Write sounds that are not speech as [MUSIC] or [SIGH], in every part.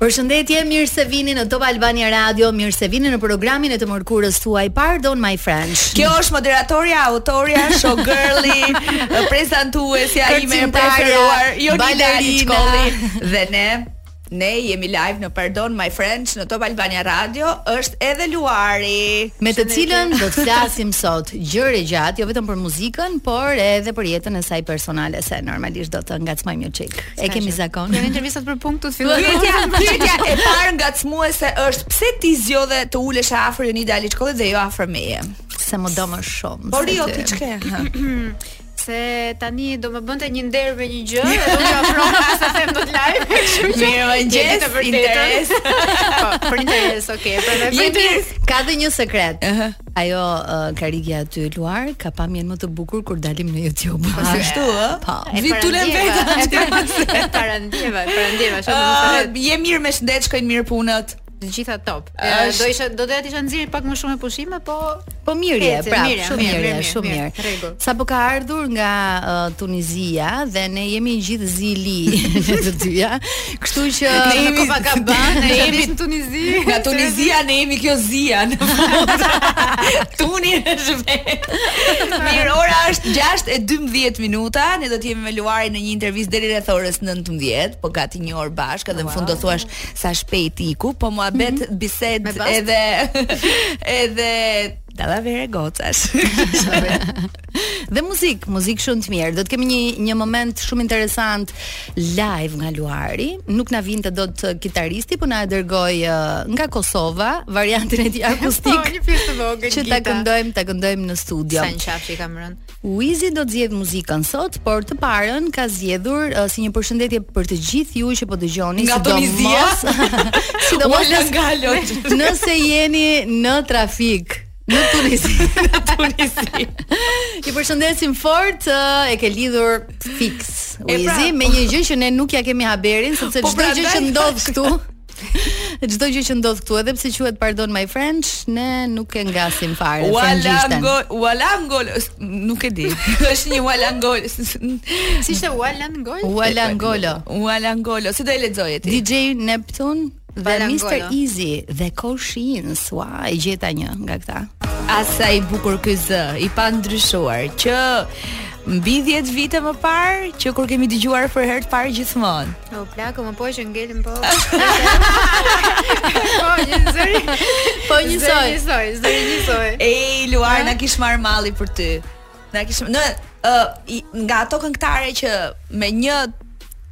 Përshëndetje, mirë se vini në Top Albania Radio, mirë se vini në programin e të mërkurës tuaj. Pardon my friends. Kjo është moderatorja, autorja, [LAUGHS] showgirli, prezantuesja ime e Kërcimtarja, preferuar, Jonida balerina. Çkolli dhe ne Ne jemi live në Pardon My Friends në Top Albania Radio, është edhe Luari. Me të Përshëndetje. cilën do të flasim sot gjëre gjatë, jo vetëm për muzikën, por edhe për jetën e saj personale se normalisht do të ngacmojmë një çik. E kemi zakon. Janë intervistat për punktut [LAUGHS] fillojnë. Pyetja, pyetja e parë ngacmuese është pse ti zgjodhe të ulesh afër Jonida Aliçkollit dhe jo afër meje? Se më do më shumë. Po se rio dy. ti ç'ke? [LAUGHS] Se tani do më bënte një nder me një gjë, dhe do më ofron as të them dot live. [LAUGHS] Kështu që jeni Mirëmëngjes, të vërtetën. [LAUGHS] interes. Po, për interes, okay. Për me për Jemi- interes. Ka dhe një sekret. Ajo uh, karigja aty Luar ka pamjen më të bukur kur dalim në YouTube. Ashtu ë? [LAUGHS] Po. E Vi tulen parandjeva, vetëm. e para- Parandjeva, parandjeva, shumë më Ë, thohet. Ah, Je mirë me shëndet, shkojnë mirë punët. Të gjitha top. E, Është- Do isha do doja të isha nxjerr pak më shumë e pushime, po Po mirë, Ece, pra, mirë, shumë mirë, mirë, mirë, shumë mirë, mirë. rregull. Sa po ka ardhur nga uh, Tunizia dhe ne jemi gjithë zili [LAUGHS] në të dyja, kështu që Ne jemi- Copacabana, [LAUGHS] Ne isha jemi dish në Tunizi. Nga Tunizia ne jemi kjo zia në [LAUGHS] fund. Tuni është vetë. Mirë, ora është 6:12 minuta. Ne do të jemi me Luarin në një intervistë deri rreth orës 19, po gati një orë bashkë dhe në fund do thuash sa shpejt iku, po muhabet bisedë Mhm. Me bast. edhe [LAUGHS] edhe dallavere gocash. [LAUGHS] Dhe muzik, muzik shumë të mirë. Do të kemi një një moment shumë interesant live nga Luari. Nuk na vinte dot uh, kitaristi, po na e dërgoi uh, nga Kosova variantin e [LAUGHS] tij Po, akustik. një pjesë të vogël. që ta gita. këndojmë, ta këndojmë në studio. Sa në qafë që i kam rënë. Wizi do të zgjedh muzikën sot, por të parën ka zgjedhur uh, si një përshëndetje për të gjithë ju që po dëgjoni, Nga sidomos [LAUGHS] sidomos Ola nëse- nga [LAUGHS] Alot. nëse jeni në trafik në [LAUGHS] Tunisi. në Tunisi. [LAUGHS] Ju përshëndesim fort, uh, e ke lidhur fix E pra, Wizi me një gjë që ne nuk ja kemi [LAUGHS] haberin, sepse Po çdo pra, gjë që ndaj- ndodh këtu [LAUGHS] Çdo gjë që ndodh këtu, edhe pse quhet Pardon My French, ne nuk e ngasim fare Wala frangjishten. ngol, wala ngol, s- nuk e di. [LAUGHS] Është një wala ngol. s- [LAUGHS] s- Si ishte Walan Gol? Wala ngolo. Wala ngolo, si do e lexoje ti? DJ Neptune dhe Balangolo. Mr Easy dhe Koshins. Ua, e gjeta një nga këta. Asa i bukur ky zë, i pa ndryshuar, që mbi 10 vite më parë, që kur kemi dëgjuar për herë të parë gjithmonë. O plaku, më po që ngelim [LAUGHS] po. po, një zëri. Po Zëri njësoj. njësoj, zëri njësoj. Ej, Luar, na kish marr malli për ty. Na kish në uh, nga ato këngëtare që me një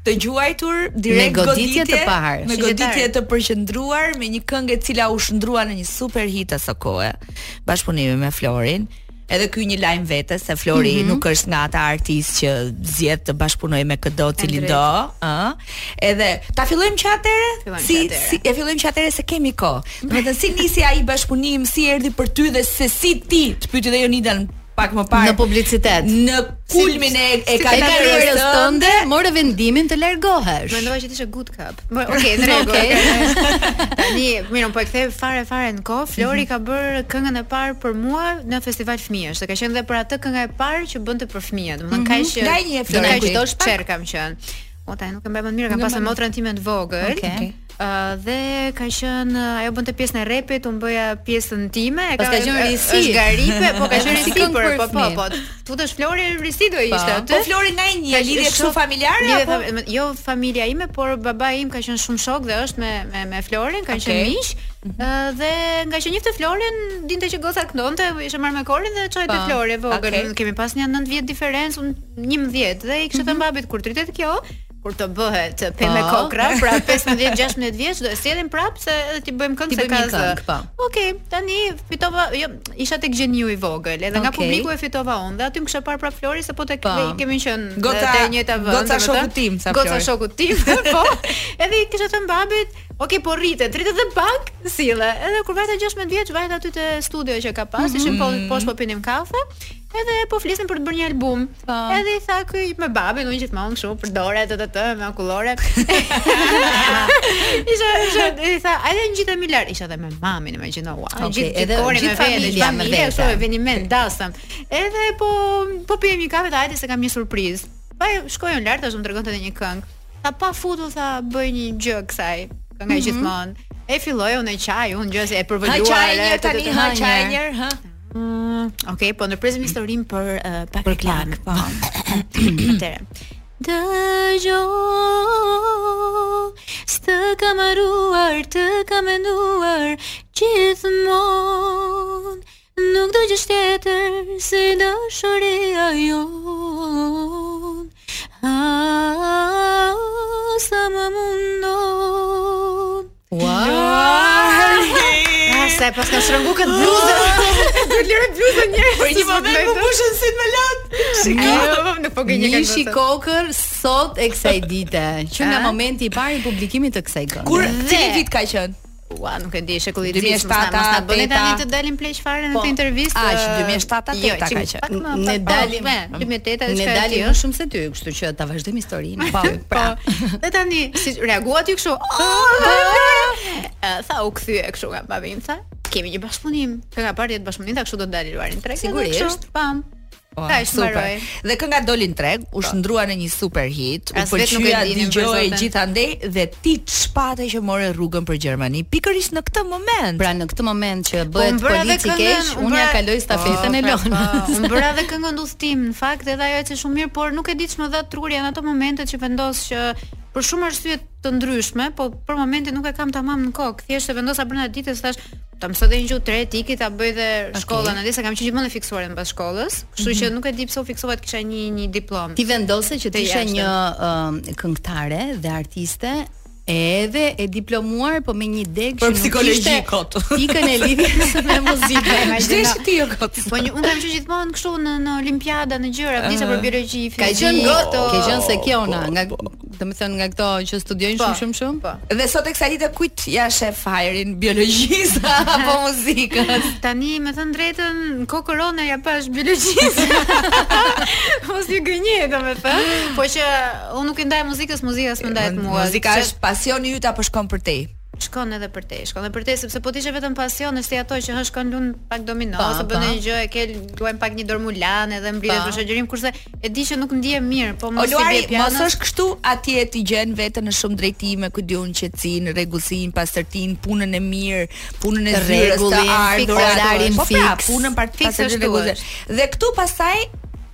të gjuajtur direkt Me goditje të parë. me Shqiptar. goditje të përqendruar, me një këngë e cila u shndrua në një super hit aso kohë, bashkëpunimi me Florin. Edhe ky një lajm vetes se Flori Mhm. nuk është nga ata artistë që zgjedh të bashkëpunoj me këdo cili drejtë. do, ë. Edhe ta fillojmë që atëre? Fillojmë Si që atëre. si e fillojmë që atëre se kemi kohë. Domethënë si nisi ai bashkëpunim, si erdhi për ty dhe se si ti të pyeti dhe Jonidan pak më parë Në po- publicitet. në kulmin e e Ka karrierës karrierës tënde, morë vendimin të largohesh. Mendova që t'ishe good cup. Më, okay, në [LAUGHS] rregull. Okej. okay. [LAUGHS] Tani, mirë, po e kthej fare fare në kohë. Flori ka bërë këngën e parë për mua në festival fëmijësh. Dhe ka qenë dhe për atë kënga e parë që bënte për fëmijë. Domethënë kaq që Nga një e do na Flori. kujtosh pak. Çer kam qenë. O tani nuk e mbaj më mirë, kam pasur motrën time të vogël. Okej. Okej. Ë, dhe ka qenë ajo bënte pjesën e repit, unë bëja pjesën time, e Pas ka qenë risi. Është garipe, po ka qenë [LAUGHS] Si risi këngë për për po po fëmijë. po. Tutesh Flori risi do ishte aty. Po Flori nga e një Ka lidhje qenë kështu shok- familjare lidhje apo? fam- jo familja ime, por babai im ka qenë shumë shok dhe është me me me Florin, kanë qenë Okej. miq. Mhm. ë, Dhe nga që njëfte Florin, dinte që goca këndonte, ishte marrë me korin dhe çojte Po, Flori e vogël. okej. Kemi pas një 9 vjet diferencë, unë 11 dhe Mhm. i kishte thënë babit kur tritet kjo, kur të bëhet pe me Po. kokra, pra 15-16 vjeç do e sjellim prapë se edhe ti bëjmë këngë Ti se bëjmë ka një zë. këngë, po. Okej, tani fitova, jo, isha tek gjeniu i vogël, edhe nga Okej. publiku e fitova unë dhe aty më kisha parë prap Flori se po tek Po. ne kemi qenë Goca- Goca, të njëjta vend. goca domethënë. shoku tim, sa Goca Flori. shoku tim, [LAUGHS] po. Edhe i kisha thënë babit, "Ok, po rritet, rritet dhe pak, sille." Edhe kur vajta 16 vjeç, vajta aty te studio që ka pas, ishim po Mhm. poshtë po pinim kafe. Edhe po flisim për të bërë një album. Po. Edhe i tha ky me babin, unë gjithmonë kështu për dorë të të të me [LAUGHS] akullore. isha isha i tha, "A dhe ngjitem Milar?" Isha edhe me mamin, imagjino. Ua, Okej, gjithë edhe gjithë korin me gjithë familja familja, me familja, vete. kështu eveniment dasëm. Edhe po po pijem një kafe, tha, hajde se kam një surprizë. Pa shkojën lart, ashtu më tregonte edhe një këngë. Tha pa futu, tha bëj një gjë kësaj. kënga gjithmonë. E filloi unë e çaj, unë gjë se e Mhm. Ha përvoluar. çaj një e, të- tani, të- të- ha ha, çaj një. një, ha. Mm, Okej, po ndërpresim historinë për uh, pak reklam. Po. [CLEARS THROAT] Atëre. Dëgjo Stë kam aruar, të kam menduar Gjithmon Nuk do gjësh tjetër Se dashuria jon Ah, sa më mundon Ah, sa e pas ka shërëngu këtë bluzën [LAUGHS] Do lirë bluzën njerë Për një moment më pushën syt me lot. Shiko, [LAUGHS] nuk po gënjë kanë. Mishi kokër sot e kësaj dite, që nga [LAUGHS] A? momenti i parë i publikimit të kësaj këngë. Kur Dhe- cili vit ka qenë? Ua, nuk e di, shekulli i 2007, 2007, mos na bëni 2008. tani të dalim pleq fare në Po. këtë intervistë. Aq, ë, 2007, jo, 2008 ka qik- qenë. pak më- Ne pak- dalim- po, Ne me, 2008 diçka e dalim tillë. më shumë se ty, kështu që ta vazhdojmë historinë. Po, [LAUGHS] aty, Po. pra. Dhe tani si reagua ti kështu? Ah, Ë, Eh, Tha u kthye kështu nga babi im tha, kemi një bashkëpunim. Ka ka parë jetë bashkëpunim, tha kështu do të dalë Luarin treg. edhe Sigurisht. kështu, Pam. Ua, Tash Po, super. mbaroi. Dhe kënga doli në treg, u shndrua në një super hit, u As vetë nuk e pëlqya, dinim, për dëgjoi zotin. gjithandej dhe ti çpate që more rrugën për Gjermani. Pikërisht në këtë moment. Pra në këtë moment që Po, unë bëhet bëra dhe polici kesh, këngën, unë unë ja bëra- kaloj stafetën e Po, po, [LAUGHS] Lonës. Unë bëra edhe këngën udhtim, në fakt edhe ajo eci shumë mirë, por nuk e di ç'më dha truri në ato momente që vendos që për shumë arsye të ndryshme, po për momentin nuk e kam tamam në kokë. Thjesht e vendosa brenda ditës thash ta mësoj dhe një gjuhë tre etiki, ta bëj dhe shkollën, okay. se kam qenë gjithmonë e fiksuar në pas shkollës, kështu që nuk e di pse u fiksova të kisha një një diplomë. Mhm. Ti vendose që Të të ishe jashtëm. një um, këngëtare dhe artiste edhe e diplomuar po me një deg Për që nuk psikologji ishte [LAUGHS] kot. Pikën e [LAUGHS] lidhjes me muzikën. Imagjino. Çdo ishte ti jo kot. Po një, unë kam qenë gjithmonë kështu në në olimpiada, në gjëra, [LAUGHS] vdisa për biologji, Ka fizik. qenë Po, gotë, këto- ke qenë se Kiona, nga do të thënë nga këto që studiojnë Po, shumë shumë shumë. Po. Dhe sot e kësaj dite kujt ja shef hajrin biologjisë [LAUGHS] apo muzikës? Tani me thënë drejtën kokorona ja pash [LAUGHS] biologjisë. Mos ju gënjej domethënë, po që unë nuk i ndaj muzikës, muzika s'më ndahet mua. Muzika Se është pasioni yt apo shkon për te? shkon edhe për te, shkon edhe për te sepse po të ishe vetëm pasion, është si ato që hë shkon lund pak domino, Pa, ose bën pa. një gjë e ke luajm pak një dormulan edhe mbritet Pa. për shoqërim kurse e di që nuk ndihem mirë, po O mos i Luari, bie mos pianos. është kështu atje ti gjen veten në shumë drejtime, ku diun qetësin, rregullsin, pastërtin, punën e mirë, punën e zyrës të Rregullin, ardhur, fiks, atë- orarin po pra, fiks. punën part Fiks pastërtin ashtu rregullin. Dhe këtu pastaj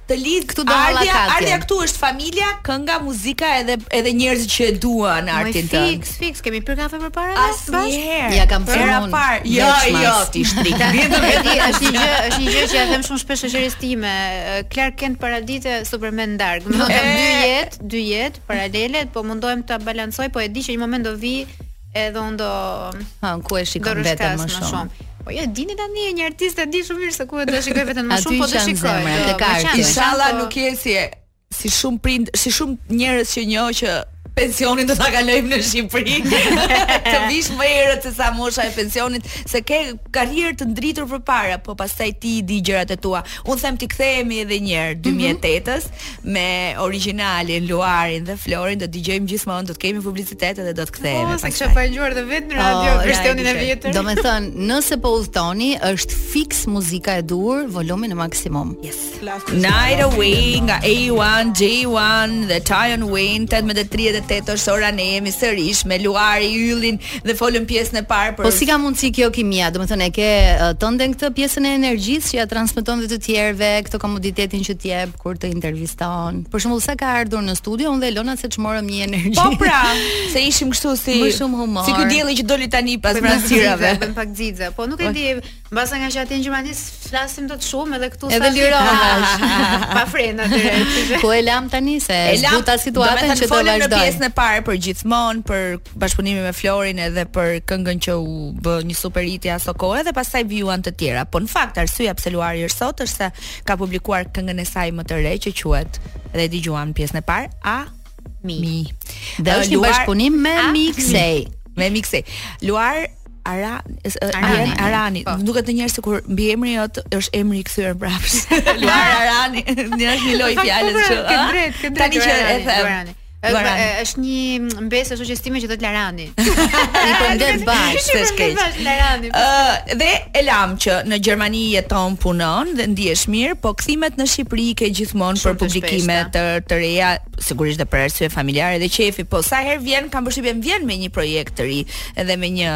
të lidh Këtu do ardhja, mallakatje. ardhja këtu është familja, kënga, muzika edhe edhe njerëzit që e duan Moj artin tënd. Fiks, fiks, kemi pirë kafe përpara? Asnjëherë. Ja kam Era thënë unë, parë. Jo, benchmarks. jo, ti shtrik. E di, është një gjë, është një gjë që ja them shumë shpesh shoqërisë time. Clark Kent paradite, Superman dark. Do të thotë kam dy jetë, dy jetë paralele, po mundohem ta balancoj, po e di që një moment do vi edhe unë do Ha, ku e do shikon rrëshkas vetëm më shumë. Po jo, dini tani një artist e di shumë mirë se ku e do shikoj vetën më Aty shumë, po do ishan shikoj. zemrat, do- e ka më qanë, arti. më qanë, Inshallah po- nuk je si si shumë prind, si shumë njerëz që njoh që pensionin do ta kalojmë në Shqipëri. të vish më herët se sa mosha e pensionit, se ke karrierë të ndritur përpara, po pastaj ti i di gjërat e tua. Unë them ti kthehemi edhe një herë 2008-s me origjinalin, Luarin dhe Florin, do dëgjojmë gjithmonë, do të kemi publicitet edhe do të kthehemi. Po, se kisha pastaj. pa ngjuar dhe vetë në radio Po, versionin e radio, vjetër. Do me thënë, nëse po udhtoni, është fix muzika e dur, volumin e maksimum. Yes. Night Away nga A1, J1 dhe Tyon Wayne 18:38 është ora ne jemi sërish me Luari Yllin dhe folëm pjesën e parë për Po [LAUGHS] si ka mundësi kjo kimia? Do të thënë e ke ë, tënde në këtë pjesën e energjisë që ja transmeton dhe të tjerëve, këtë komoditetin që të jep kur të interviston. Për shembull, sa ka ardhur në studio, unë dhe Elona se çmorëm një energji. Po pra, se ishim kështu si Më shumë humor. Si ky dielli që doli tani pas Bëjmë pak pranësirave. xixe, bëjmë pak xixe. Po nuk e di, mbas nga që atë në Gjermani flasim dot shumë edhe këtu Edhe sa- lirohesh. [LAUGHS] pa [LAUGHS] frenë atyre. [LAUGHS] Ku e lam tani se zbuta situatën që do vazhdoj. në vazhdoj. pjesën e parë për gjithmonë, për bashkëpunimin me Florin edhe për këngën që u bë një super hit ja aso kohë dhe pastaj vjuan të tjera. Po në fakt arsyeja pse Luari është sot është se ka publikuar këngën e saj më të re që quhet dhe e dëgjuan në pjesën e parë A Mi. Dhe është një Luar- Ah. bashkëpunim me A, Mixej. [LAUGHS] me Mixi. Luar Ara, s- ë, Arani. Arani, Arani. Po. Më duket të njerëz sikur mbi emri jot është emri i kthyer [LAUGHS] mbrapsht. Luar Arani, një është një lloj Në fakt, po, fjalës po, që. ke ë? drejt, ke drejt, Tani që Luar e Arani, Luar them. Arani. Ë, Guarani. e- po. Është një mbesë shoqëstime që thot Larani. [LAUGHS] I përndet bash, se shkeq. Bash Larani. [LAUGHS] Ë dhe e lam që në Gjermani jeton punon dhe ndihesh mirë, po kthimet në Shqipëri ke gjithmonë për Shumë të publikime shpeshta. të të reja, sigurisht dhe për arsye familjare dhe qefi, po sa herë vjen kam përshtypjen vjen me një projekt të ri edhe me një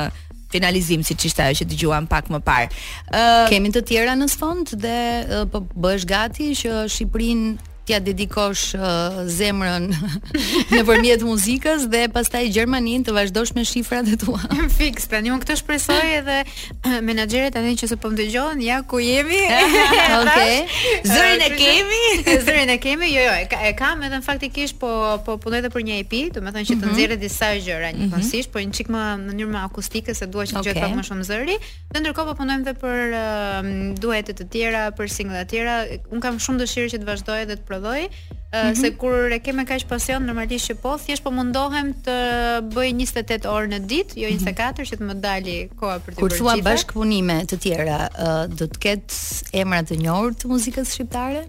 finalizim siç ishte ajo që dëgjuam pak më parë. Ë Kemi të tjera në sfond dhe ë, po bësh gati që Shqipërinë t'ja dedikosh ë, zemrën [LAUGHS] nëpërmjet muzikës dhe pastaj Gjermaninë të vazhdosh me shifrat e tua. Fiks tani unë këtë shpresoj edhe [CLEARS THROAT] eh, menaxheret tani që se po më dëgjojnë, ja ku jemi. [LAUGHS] [LAUGHS] Okej. Zërin e Kështu që- kemi? Zërin e kemi. Jo, jo, e, ka, e kam edhe në faktikisht po po punoj edhe për një EP, domethënë që të Mhm. nxjerrë disa gjëra njëkohësisht, po një çik më në mënyrë më akustike se dua që të Okej. gjetë pak më shumë zëri. Dhe ndërkohë po punojmë edhe për um, duete të tjera, për single të tjera. Un kam shumë dëshirë që të vazhdoj edhe të prodhoj. Uh, Mhm. se kur e kem me kaq pasion normalisht që po thjesht po mundohem të bëj 28 orë në ditë, jo 24 që të më dali koha për të Mhm. Kur bërë thua gjitha. bashkëpunime të tjera, ë, do të ketë emra të njohur të muzikës shqiptare?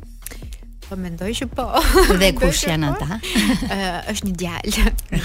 Po mendoj që po. Dhe [LAUGHS] Mendoj kush që janë po. ata? Ë, është një [LAUGHS] djalë,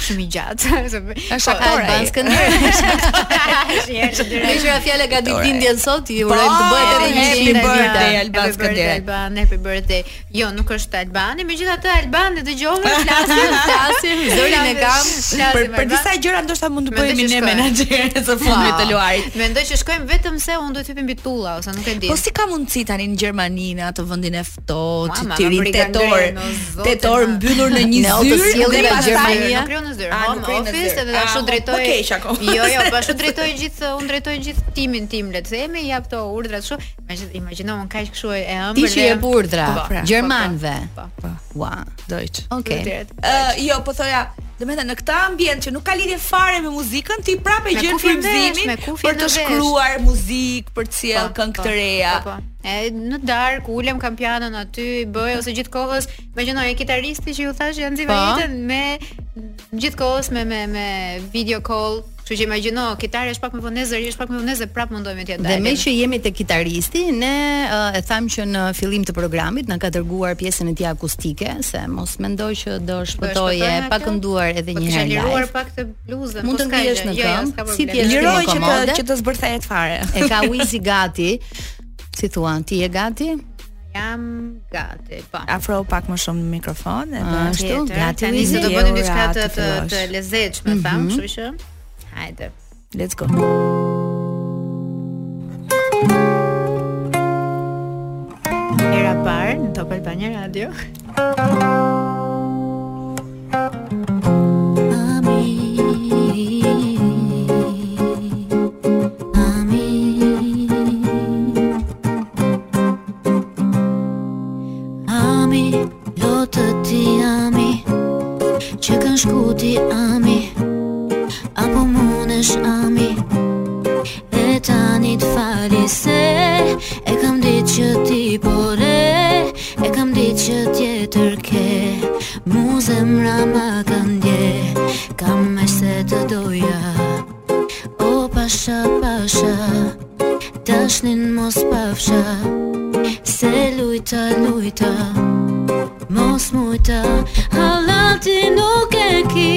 shumë i gjatë. po, Është Ai Banskën. po, [LAUGHS] Me qëra fjala ka ditëlindjen sot, ju urojmë të bëhet edhe një happy ditë. birthday, Alban po, Skënderaj. Alban, happy birthday. Jo, nuk është Albani, megjithatë Albani [LAUGHS] dëgjova flasim, Flasim, zërin e kam. për, për disa gjëra ndoshta mund të Mendoj bëhemi që ne shkojmë. menaxherë të fundit të luarit. Mendoj që shkojmë vetëm se unë do të hyj mbi tulla ose nuk e di. Po si ka mundësi tani në Gjermani në atë vendin e ftohtë, Mama, të rin ma tetor, briganderi, no, tetor zote, ma. mbyllur [LAUGHS] në Ne një zyrë autosjellin dhe nga pastaj- Gjermania. Nuk kryon në zyrë, A, home nuk kryon në office zyrë. edhe ashtu Ah, drejtoj. po keq akoma. Jo, jo, po [LAUGHS] ashtu drejtoj gjithë, unë drejtoj gjithë timin tim, le të themi, jap to urdhra kështu. Imagjino, imagjino un kaq kështu e ëmbël. Ti që je burdra, Po, pra, Gjermanve. po, po, Ua. Deutsch. Okej. Vërtet. Ë, jo, po thoja, do të thënë në këtë ambient që nuk ka lidhje fare me muzikën, ti prapë e Me gjen kufjen vesh, frymëzimin me kufjen për të në vesh. shkruar muzikë, për të sjellë Po, këngë po, të reja. po, po. E në dark ulem kam pianon aty, i bëj ose gjithkohës, imagjinoj e kitaristi që ju thash janë nxive Po. jetën me gjithkohës me me me video call, kështu që imagjino kitare është pak më vonë zëri, është pak më vonë zë prap mundohemi t'ia Dhe dalim. me që jemi te kitaristi, ne uh, e tham që në fillim të programit na ka dërguar pjesën e tij akustike, se mos mendoj që do shpëtoje shpëtojmë pa atë? kënduar edhe Po një kisha herë liruar live. pak të bluzën, Mund po të s'ka ngrihesh gjë, në jo, jo, këmbë, si s'ka problem. t'jesh Liroj që të komode. që të zbërthehet fare. E ka Wizi gati. Si thua, ti je gati? Jam gati, po. Afro pak më shumë në mikrofon edhe Ah, ashtu, Tjetër, gati Tani Wizi? se do Je bënim ora diçka të të të, fillosh. të lezetshme, tham, Mhm. kështu që hajde. let's go. Era parë në Top Albania Radio. Ami, jo të ti ami Që kanë shku ti ami Apo munesh ami Dhe tani të fali se E kam ditë që ti pore E kam ditë që tjetër ke Mu zemra ma kanë dje Kam me se të doja O pasha, pasha Dashnin mos pafsha Se lujta, lujta Mos mujta Halati nuk e ki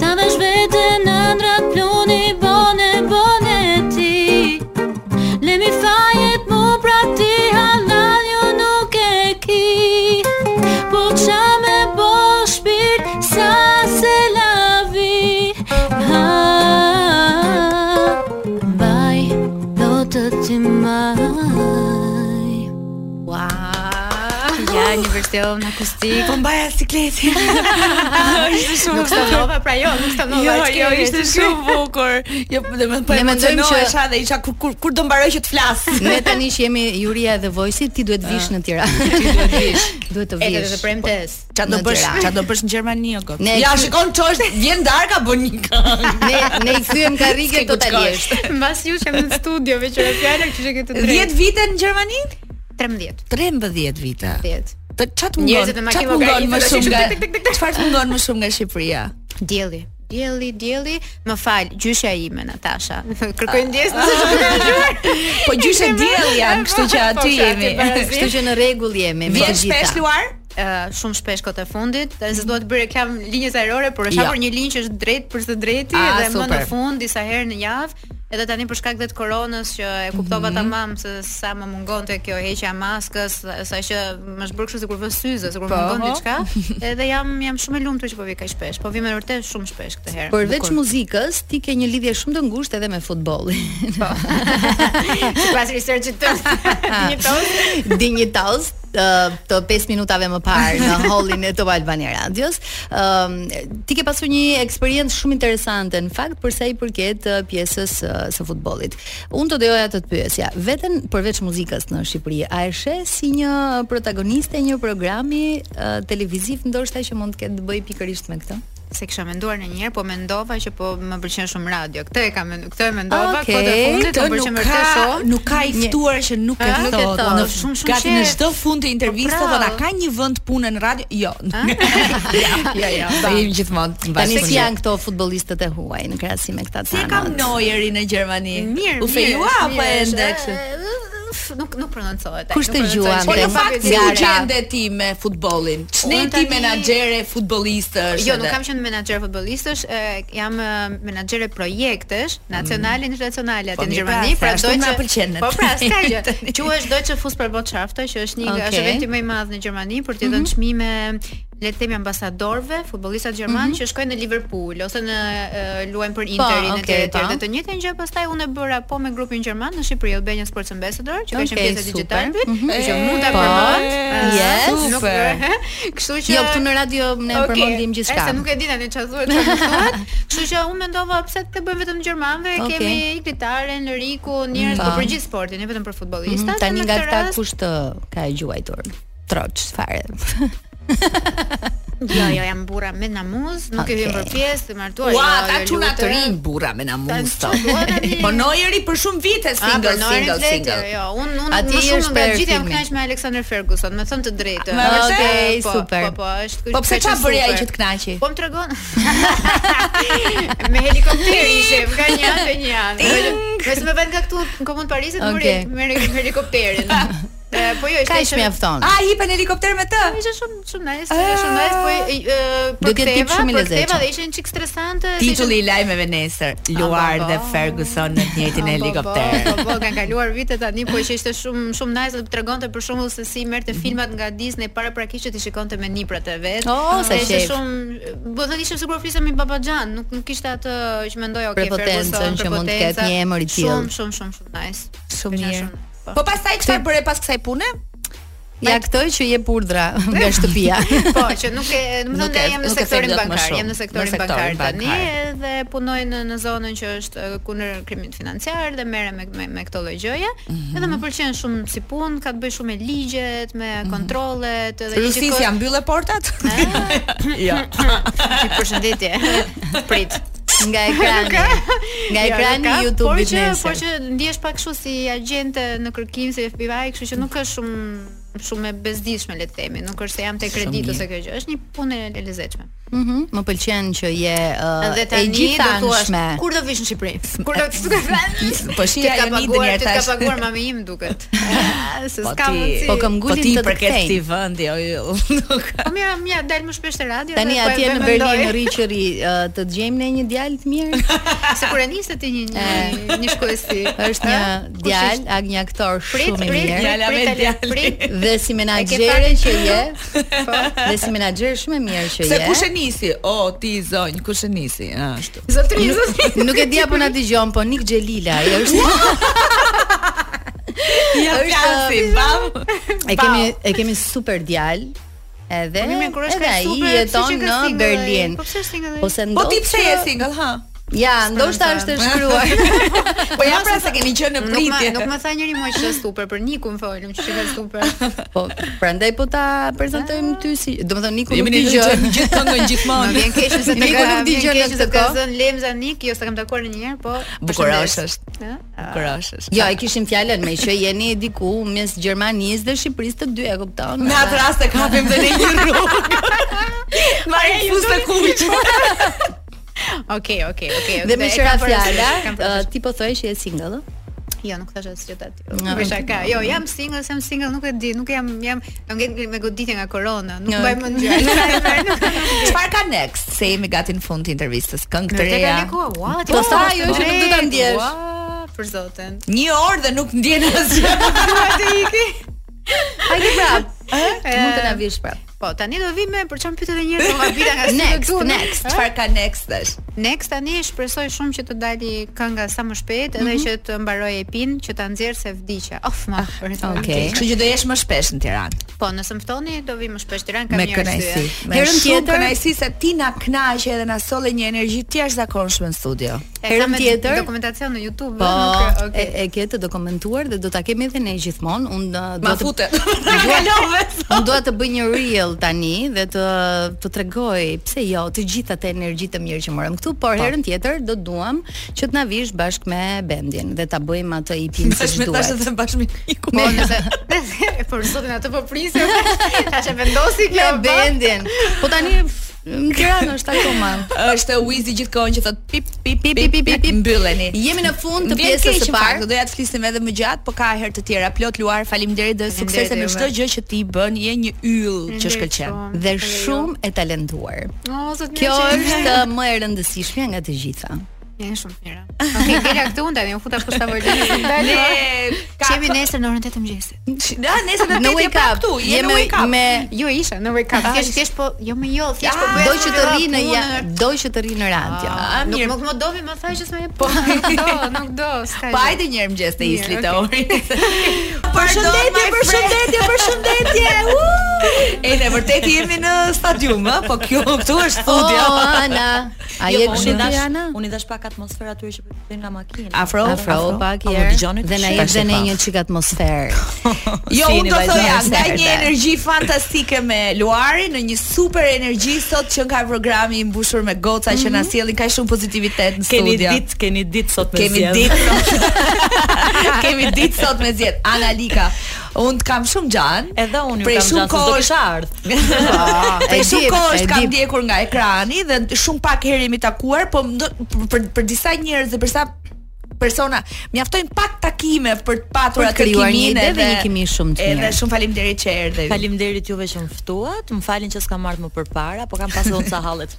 Ta vesh vete në ndrat pluni Bone, bone ti Lemi fajet mu pra ti Halal ju nuk e ki Po qa me bo shpirt Sa se lavi Ha Baj Lotët ti maj Wow. Ja, një version akustik. Po mbaja [LAUGHS] sikletin. Ishte shumë Nuk stanova pra jo, nuk stanova. Jo, ç'ke jo, vjeç. ishte shumë bukur. Jo, do të Ne thënë, po mendojmë që- emocionohesha dhe isha kur kur, kur do mbaroj që të [LAUGHS] flas. Ne tani që jemi Juria dhe Vojsi, ti duhet vish në Tiranë. Ti duhet vish. [LAUGHS] Duhet të E do të vish. premtes. Ça do Në bësh? Tiranë. Ça do bësh në Gjermani o kot? Ne- Ja, shikon çosh, vjen darka bën një [LAUGHS] këngë. Ne ne i [LAUGHS] kthyem karrige S'ke ku totalisht. [LAUGHS] Mbas ju që jam në studio me qëra fjalë, kështu që këtë 10 vite në Gjermani? 13. 13 vite. 10. Të ça të mungon? Njerëzit Ça të me makinë mungon logaritme më dhe shumë që- nga tik, tik, tik, tik. Çfarë të mungon më shumë nga Shqipëria? Dielli. Dielli, dielli, më fal, gjyshja ime [LAUGHS] Natasha. Kërkoj ndjesë nëse nuk e dëgjuar. Po [LAUGHS] gjyshe diell janë, kështu që [LAUGHS] Po, aty fshatë, jemi. barazit. [LAUGHS] Kështu po, që në rregull jemi. me Vjen të gjitha. shpesh luar? ë, shumë shpesh kot e fundit, dhe Mhm. se dua të bëj reklam linjës ajrore, por është Jo. hapur një linjë që është drejt për së drejti Ah, dhe më në super. fund disa herë në javë. Edhe tani për shkak dhe të koronës që e Mhm. kuptova tamam se sa më mungonte kjo heqja e maskës, sa që më është bërë kështu sikur vë syze, sikur Po, mungon ho. diçka. Edhe jam jam shumë e lumtur që po vi kaq shpesh, po vi me vërtet shumë shpesh këtë herë. [LAUGHS] Përveç muzikës, ti ke një lidhje shumë të ngushtë edhe me futbollin. Sipas researchit [LAUGHS] të Ah. një tonë. Dinjitos ë, të 5 minutave më parë [LAUGHS] në hallin e Top Albania Radios. Ëm ti ke pasur një eksperiencë shumë interesante në fakt për sa i përket ë, pjesës ë, së futbollit. Unë të doja të të pyesja, veten përveç muzikës në Shqipëri, a e sheh si një protagoniste një programi ë, televiziv ndoshta që mund të ketë të bëjë pikërisht me këtë? se kisha menduar në njëherë, po mendova që po më pëlqen shumë radio. Këtë e kam mendu- këtë e mendova, Okej, okay, këtë e fundit më Këtë pëlqen nuk ka, vërtet shumë. nuk ka i ftuar që nuk e Ah, nuk e thot. thot. Në Shumë, shumë gati në qef. çdo fund të interviste Po, thotë a bravo. ka një vend pune në radio? Jo. Ja, [LAUGHS] ja. Do jemi gjithmonë Tani bashkë. si janë këto futbollistët e huaj në krahasim me këta Si e tanët? kam Neuerin në Gjermani? Mirë, U po fejua mirë, apo mirë, ende është, kështu? e, uf, Nuk nuk prononcohet. ai, Kush nuk të prononcohet. gjuan, Po, Po në Ende. fakt si u Gara. gjende ti me futbollin? Ç'ne Unë ti tani- menaxhere futbollistësh? Jo, nuk kam qenë menaxher futbollistësh, e, jam e, menaxhere projektesh Mm. nacionale, internacionale Po, aty në mirë, pra, Gjermani, pra ashtu do na që pëlqen ne. Po pra, s'ka [LAUGHS] gjë. Quhesh do që fus për Botshafta, që është një Okej. është eventi më i madh në Gjermani për të Mhm. dhënë çmime le të themi ambasadorëve, futbollistat gjerman Mhm. që shkojnë në Liverpool ose në e, luajnë për Interin e okej, tjerë e tjerë. po. Dhe të njëjtën gjë pastaj unë e bëra po me grupin gjerman në Shqipëri, Albanian Sports Ambassador, që ka qenë Okej, pjesë e super. digjitalit, Mhm. që mund ta Po, përmend. e, yes. nuk- Super. [LAUGHS] Kështu që Jo, këtu në radio ne Okej, përmendim gjithçka. Ese nuk e di tani çfarë thuhet, çfarë nuk thuhet. [LAUGHS] Kështu që unë mendova pse të bëjmë vetëm gjermanëve, Okej. kemi Iglitaren, Riku, njerëz Mm, po po. për gjithë sportin, jo vetëm për Mhm, futbollistat. Tani dhe në nga këtë këta rast- kush të ka e gjuajtur? Troç [LAUGHS] fare. Jo, jo, jam burra me namuz, nuk e vjen Okej. për pjesë, të martuar. Ua, jo, ta jo, çuna të lutem. rinj burra me Ta namus sot. çuna tani. Po Neueri për shumë vite Ah, single për Norin single Fletcher, single. Jo, unë unë Ati më është shumë nga për gjithë jam filmin. kënaq me Alexander Ferguson, me thënë të drejtën. Me vërtet? Okej, po, super. Po, po, është Po pse është çfarë bëri ai super. që të kënaqi? Po më tregon. [LAUGHS] me helikopter ishim nga një anë te një anë. Nëse më vjen nga këtu në komun Parisit, Okej. okay. merr me [LAUGHS] helikopterin. E, po jo, ishte Kaq mjafton. A hipen helikopter me të? Ishte shumë shumë nice, ishte shumë nice, po i- i- e, Do t'jetë tip përktheva, shumë i përktheva lezetshëm. dhe ishin çik stresante. se ishin- Titulli i lajmeve nesër, Luar bo, dhe bo. Ferguson në të njëjtin Ah, Po, po, Po, helikopter. po, kanë kaluar vite tani, po që ishte shumë shumë nice dhe tregonte për shembull se si merrte Mhm. filmat nga Disney para prakisht që ti shikonte me niprat e vet. Oh, sa Dhe ishte qejf. shumë, do të thënë ishte sikur flisem me babaxhan, nuk nuk ishte atë që mendoj, okay, Prepotencën Ferguson, që mund të ketë prepotenca. një emër i tillë. Shumë shumë shumë shumë nice. Shumë Isha mirë. po. Po pastaj çfarë bëre pas kësaj pune? Ja këtoj që jep [LAUGHS] urdhra nga shtëpia. Po, që nuk e, do të Nuk thonë e- ne jam në nuk e sektorin thek dot më bankar, shumë. jam në sektorin Në sektorin bankar tani bankar. dhe punoj në në zonën që është e, kundër krimit financiar dhe merrem me me, me këto lloj gjëje. Mhm. Edhe më pëlqen shumë si punë, ka të bëj shumë me ligjet, me Mhm. kontrollet edhe Rusis gjithë janë mbyllë portat? Ah. [LAUGHS] Jo. kohë- përshëndetje. [LAUGHS] Prit. Nga ekrani. Nga Jo, ekrani nuk i ka, por YouTube-it që, por nesër. që ndihesh pak kështu si agjente në kërkim si FBI, kështu që nuk është shumë shumë e bezdishme le të themi, nuk është se jam te Shumë kredit mirë. ose kjo gjë, është një punë e lezetshme. Mhm, Më pëlqen që je ë, Dhe e tani do thuash gjithanshme. kur do vish në Shqipëri? Kur [LAUGHS] do të vënë? [LAUGHS] Po shija Ti ka jo nidin paguar, herë ti ka tash. paguar mami im [LAUGHS] duket. Se Po s'ka ti- mundsi. Po kam ngulin ti të të përket kthejnë. këtij vendi, o ju. [LAUGHS] Nuk Po mira, mira, dal më shpesh te radio. Tani dhe po e atje bëj në mendoj. Berlin në Richeri ë, uh, të gjejmë ne një djalë të [LAUGHS] mirë. se kur e niste ti një një, një shkuesi. Eh, Është një Ha? Kush djalë, ishte? a një aktor Prit, shumë i prit, mirë. Eh, Djala me prit, djalin. prit. Dhe si menaxhere që je, [LAUGHS] dhe si menaxher shumë e mirë që je. Se kush e nisi? O ti zonj, kush e nisi? Ah, ashtu. Zotri, zotri. [LAUGHS] Nuk e di apo na dëgjon, po Nik Xhelila, ai është Ja [LAUGHS] fjasi, bam. E kemi e kemi super djalë. Edhe Po mirë, kur është edhe kaq ai super, jeton pse që ka në single ai? Berlin. Po pse është single ai? Po se Po ndoshta ti pse je single, ha? Ja, ndoshta është e [LAUGHS] shkruar. Po ja pra se keni qenë në Nuk më pritje. nuk më tha njëri më që është super për Nikun folëm që ka [LAUGHS] super. po prandaj po ta prezantojmë ty si, domethënë Niku Jemi nuk në dëgjon. [LAUGHS] gjithë gjithë [LAUGHS] këngën Më gjithmonë. vjen keq se të Niku ka nuk vjen dëgjon keq në se këtë ka kohë. zënë Lemza Nik, jo s'e kam takuar ndonjëherë, po Bukurosh përshëndes. është. Ëh? Bukurosh është. Jo, e kishim fjalën me që jeni diku mes Gjermanisë dhe Shqipërisë të dy, e kupton? Në pra. atë rast e kapim dhe ne një [LAUGHS] rrugë. Marim fustë kuq. Okej, okej, okej. Dhe okej, me e qëra kam përshtypjen, fjala, uh, kam ë, përshtypjen. ti po thoj që je single? ë? Jo, nuk thashë asgjë aty. Nuk isha ka. Jo, jam single, jam single, nuk e di, nuk jam jam jam ngel me goditje nga korona, nuk Jo. mbaj mend [LAUGHS] gjë. Çfarë ka next? Se jemi gati në fund të intervistës. Këngë të Te ka reja. liku, ua, Po, sa ajo që nuk do ta ndjesh. Ua, për zotin. [LAUGHS] Një orë dhe nuk ndjen asgjë. [LAUGHS] Dua të iki. Hajde [LAUGHS] prap. Ti mund të na vish prap. Po, tani do vi me për çfarë pyetët e njerëzve nga po, vita nga Next, studio next. Çfarë ka next tash? Next tani shpresoj shumë që të dali kënga sa më shpejt edhe Mhm. që të mbaroj epin që ta nxjerr se vdiqja. Of ma. për të Ah, okej. vdiqja. Kështu që do jesh më shpesh në Tiranë. Po, nëse më ftoni do vi më shpesh Tiranë kam me një kënaqësi. arsye. Herën Me Herën tjetër- tjetër kënaqësi se ti na kënaqe edhe na solle një energji të jashtëzakonshme në studio. E Herën kam me tjetër- dokumentacion në YouTube, Po, nuk Ah, e, [LAUGHS] okay. e ke të dokumentuar dhe do ta kemi edhe ne gjithmonë. Unë uh, do Ma të [LAUGHS] futet. Ta kalove. [LAUGHS] Unë dua të bëj një reel tani dhe të të tregoj pse jo të gjitha të energjitë të mirë që morëm këtu, Po. por herën tjetër do duam që të na vish bashkë me bendin dhe ta bëjmë atë i pinë Tash siç me tash duhet. të bashmiku. Po, nëse por zotin atë po prisë. Tash e vendosi Me kjo band. bendin. Po tani f- në Tiranë është akoma. [LAUGHS] Është Wizi gjithkohon që thot pip pip Pip, pip, pip, pip, pip. mbylleni. Jemi në fund të Vjen pjesës keq, së në fakt, parë. Doja të flisim edhe më gjatë, po ka herë të tjera. Plot luar, faleminderit dhe suksese në juve. çdo gjë që ti bën. Je një yll që shkëlqen. Dhe shumë e talentuar. O, zot Kjo mirë që- është më e rëndësishmja nga të gjitha. Janë shumë të mira. Okej, dela këtu unë tani, u futa kushta vërtet. Ne [LAUGHS] Qemi nesër në orën 8 të mëngjesit. Da, Ah, nesër do Në të jemi wake up. këtu. Je në Jemi wake up. me Jo isha në wake up. Thjesht thjesht po, jo më jo, thjesht po Ah, bëj do që të rri në ja, do që të rri në radio. Ah, Nuk mirë. nuk më dovi më thaj që s'më e po. [LAUGHS] Do, nuk do, s'ka. Po hajde një herë mëngjes te Mirë, Isli të okay. orit. [LAUGHS] Përshëndetje, përshëndetje, [LAUGHS] përshëndetje. E ne vërtet jemi në stadium, ë, po kjo këtu është studio. Jo, O, [LAUGHS] Ana, a je po, kështu unë i ti dash- Ana? Unë i dash pak atmosferë atyre që përfitojnë nga makina. Afro, Afro pak Po, më herë dëgjoni të dhe na shih? jep dhe ne Tash e një çik atmosferë. [LAUGHS] Jo, Shihni unë do vazhdojmë thoja, nga serde. një energji fantastike me Luari në një super energji sot që nga programi i mbushur me goca që na sjellin kaq shumë pozitivitet në Keni studio. ditë, keni ditë sot Mhm. me Kemi ditë [LAUGHS] Kemi ditë sot me zjet Analika Unë të kam shumë gjan Edhe unë ju Prej kam shumë shumë kohë kohësh- kisha ardhur. Ah, Prej e shumë di, kohësh e kam di. ndjekur nga ekrani dhe shumë pak herë jemi takuar, po ndo- për, për, për disa njerëz dhe për sa persona mjaftojnë pak takime për të patur Për të atë krijuar një kimin ide dhe një kimi shumë të Edhe mirë. shumë faleminderit që erdhe. Faleminderit juve që më ftuat. Më falin që s'kam ardhur më përpara, po kam pasur [LAUGHS] unë ca hallet.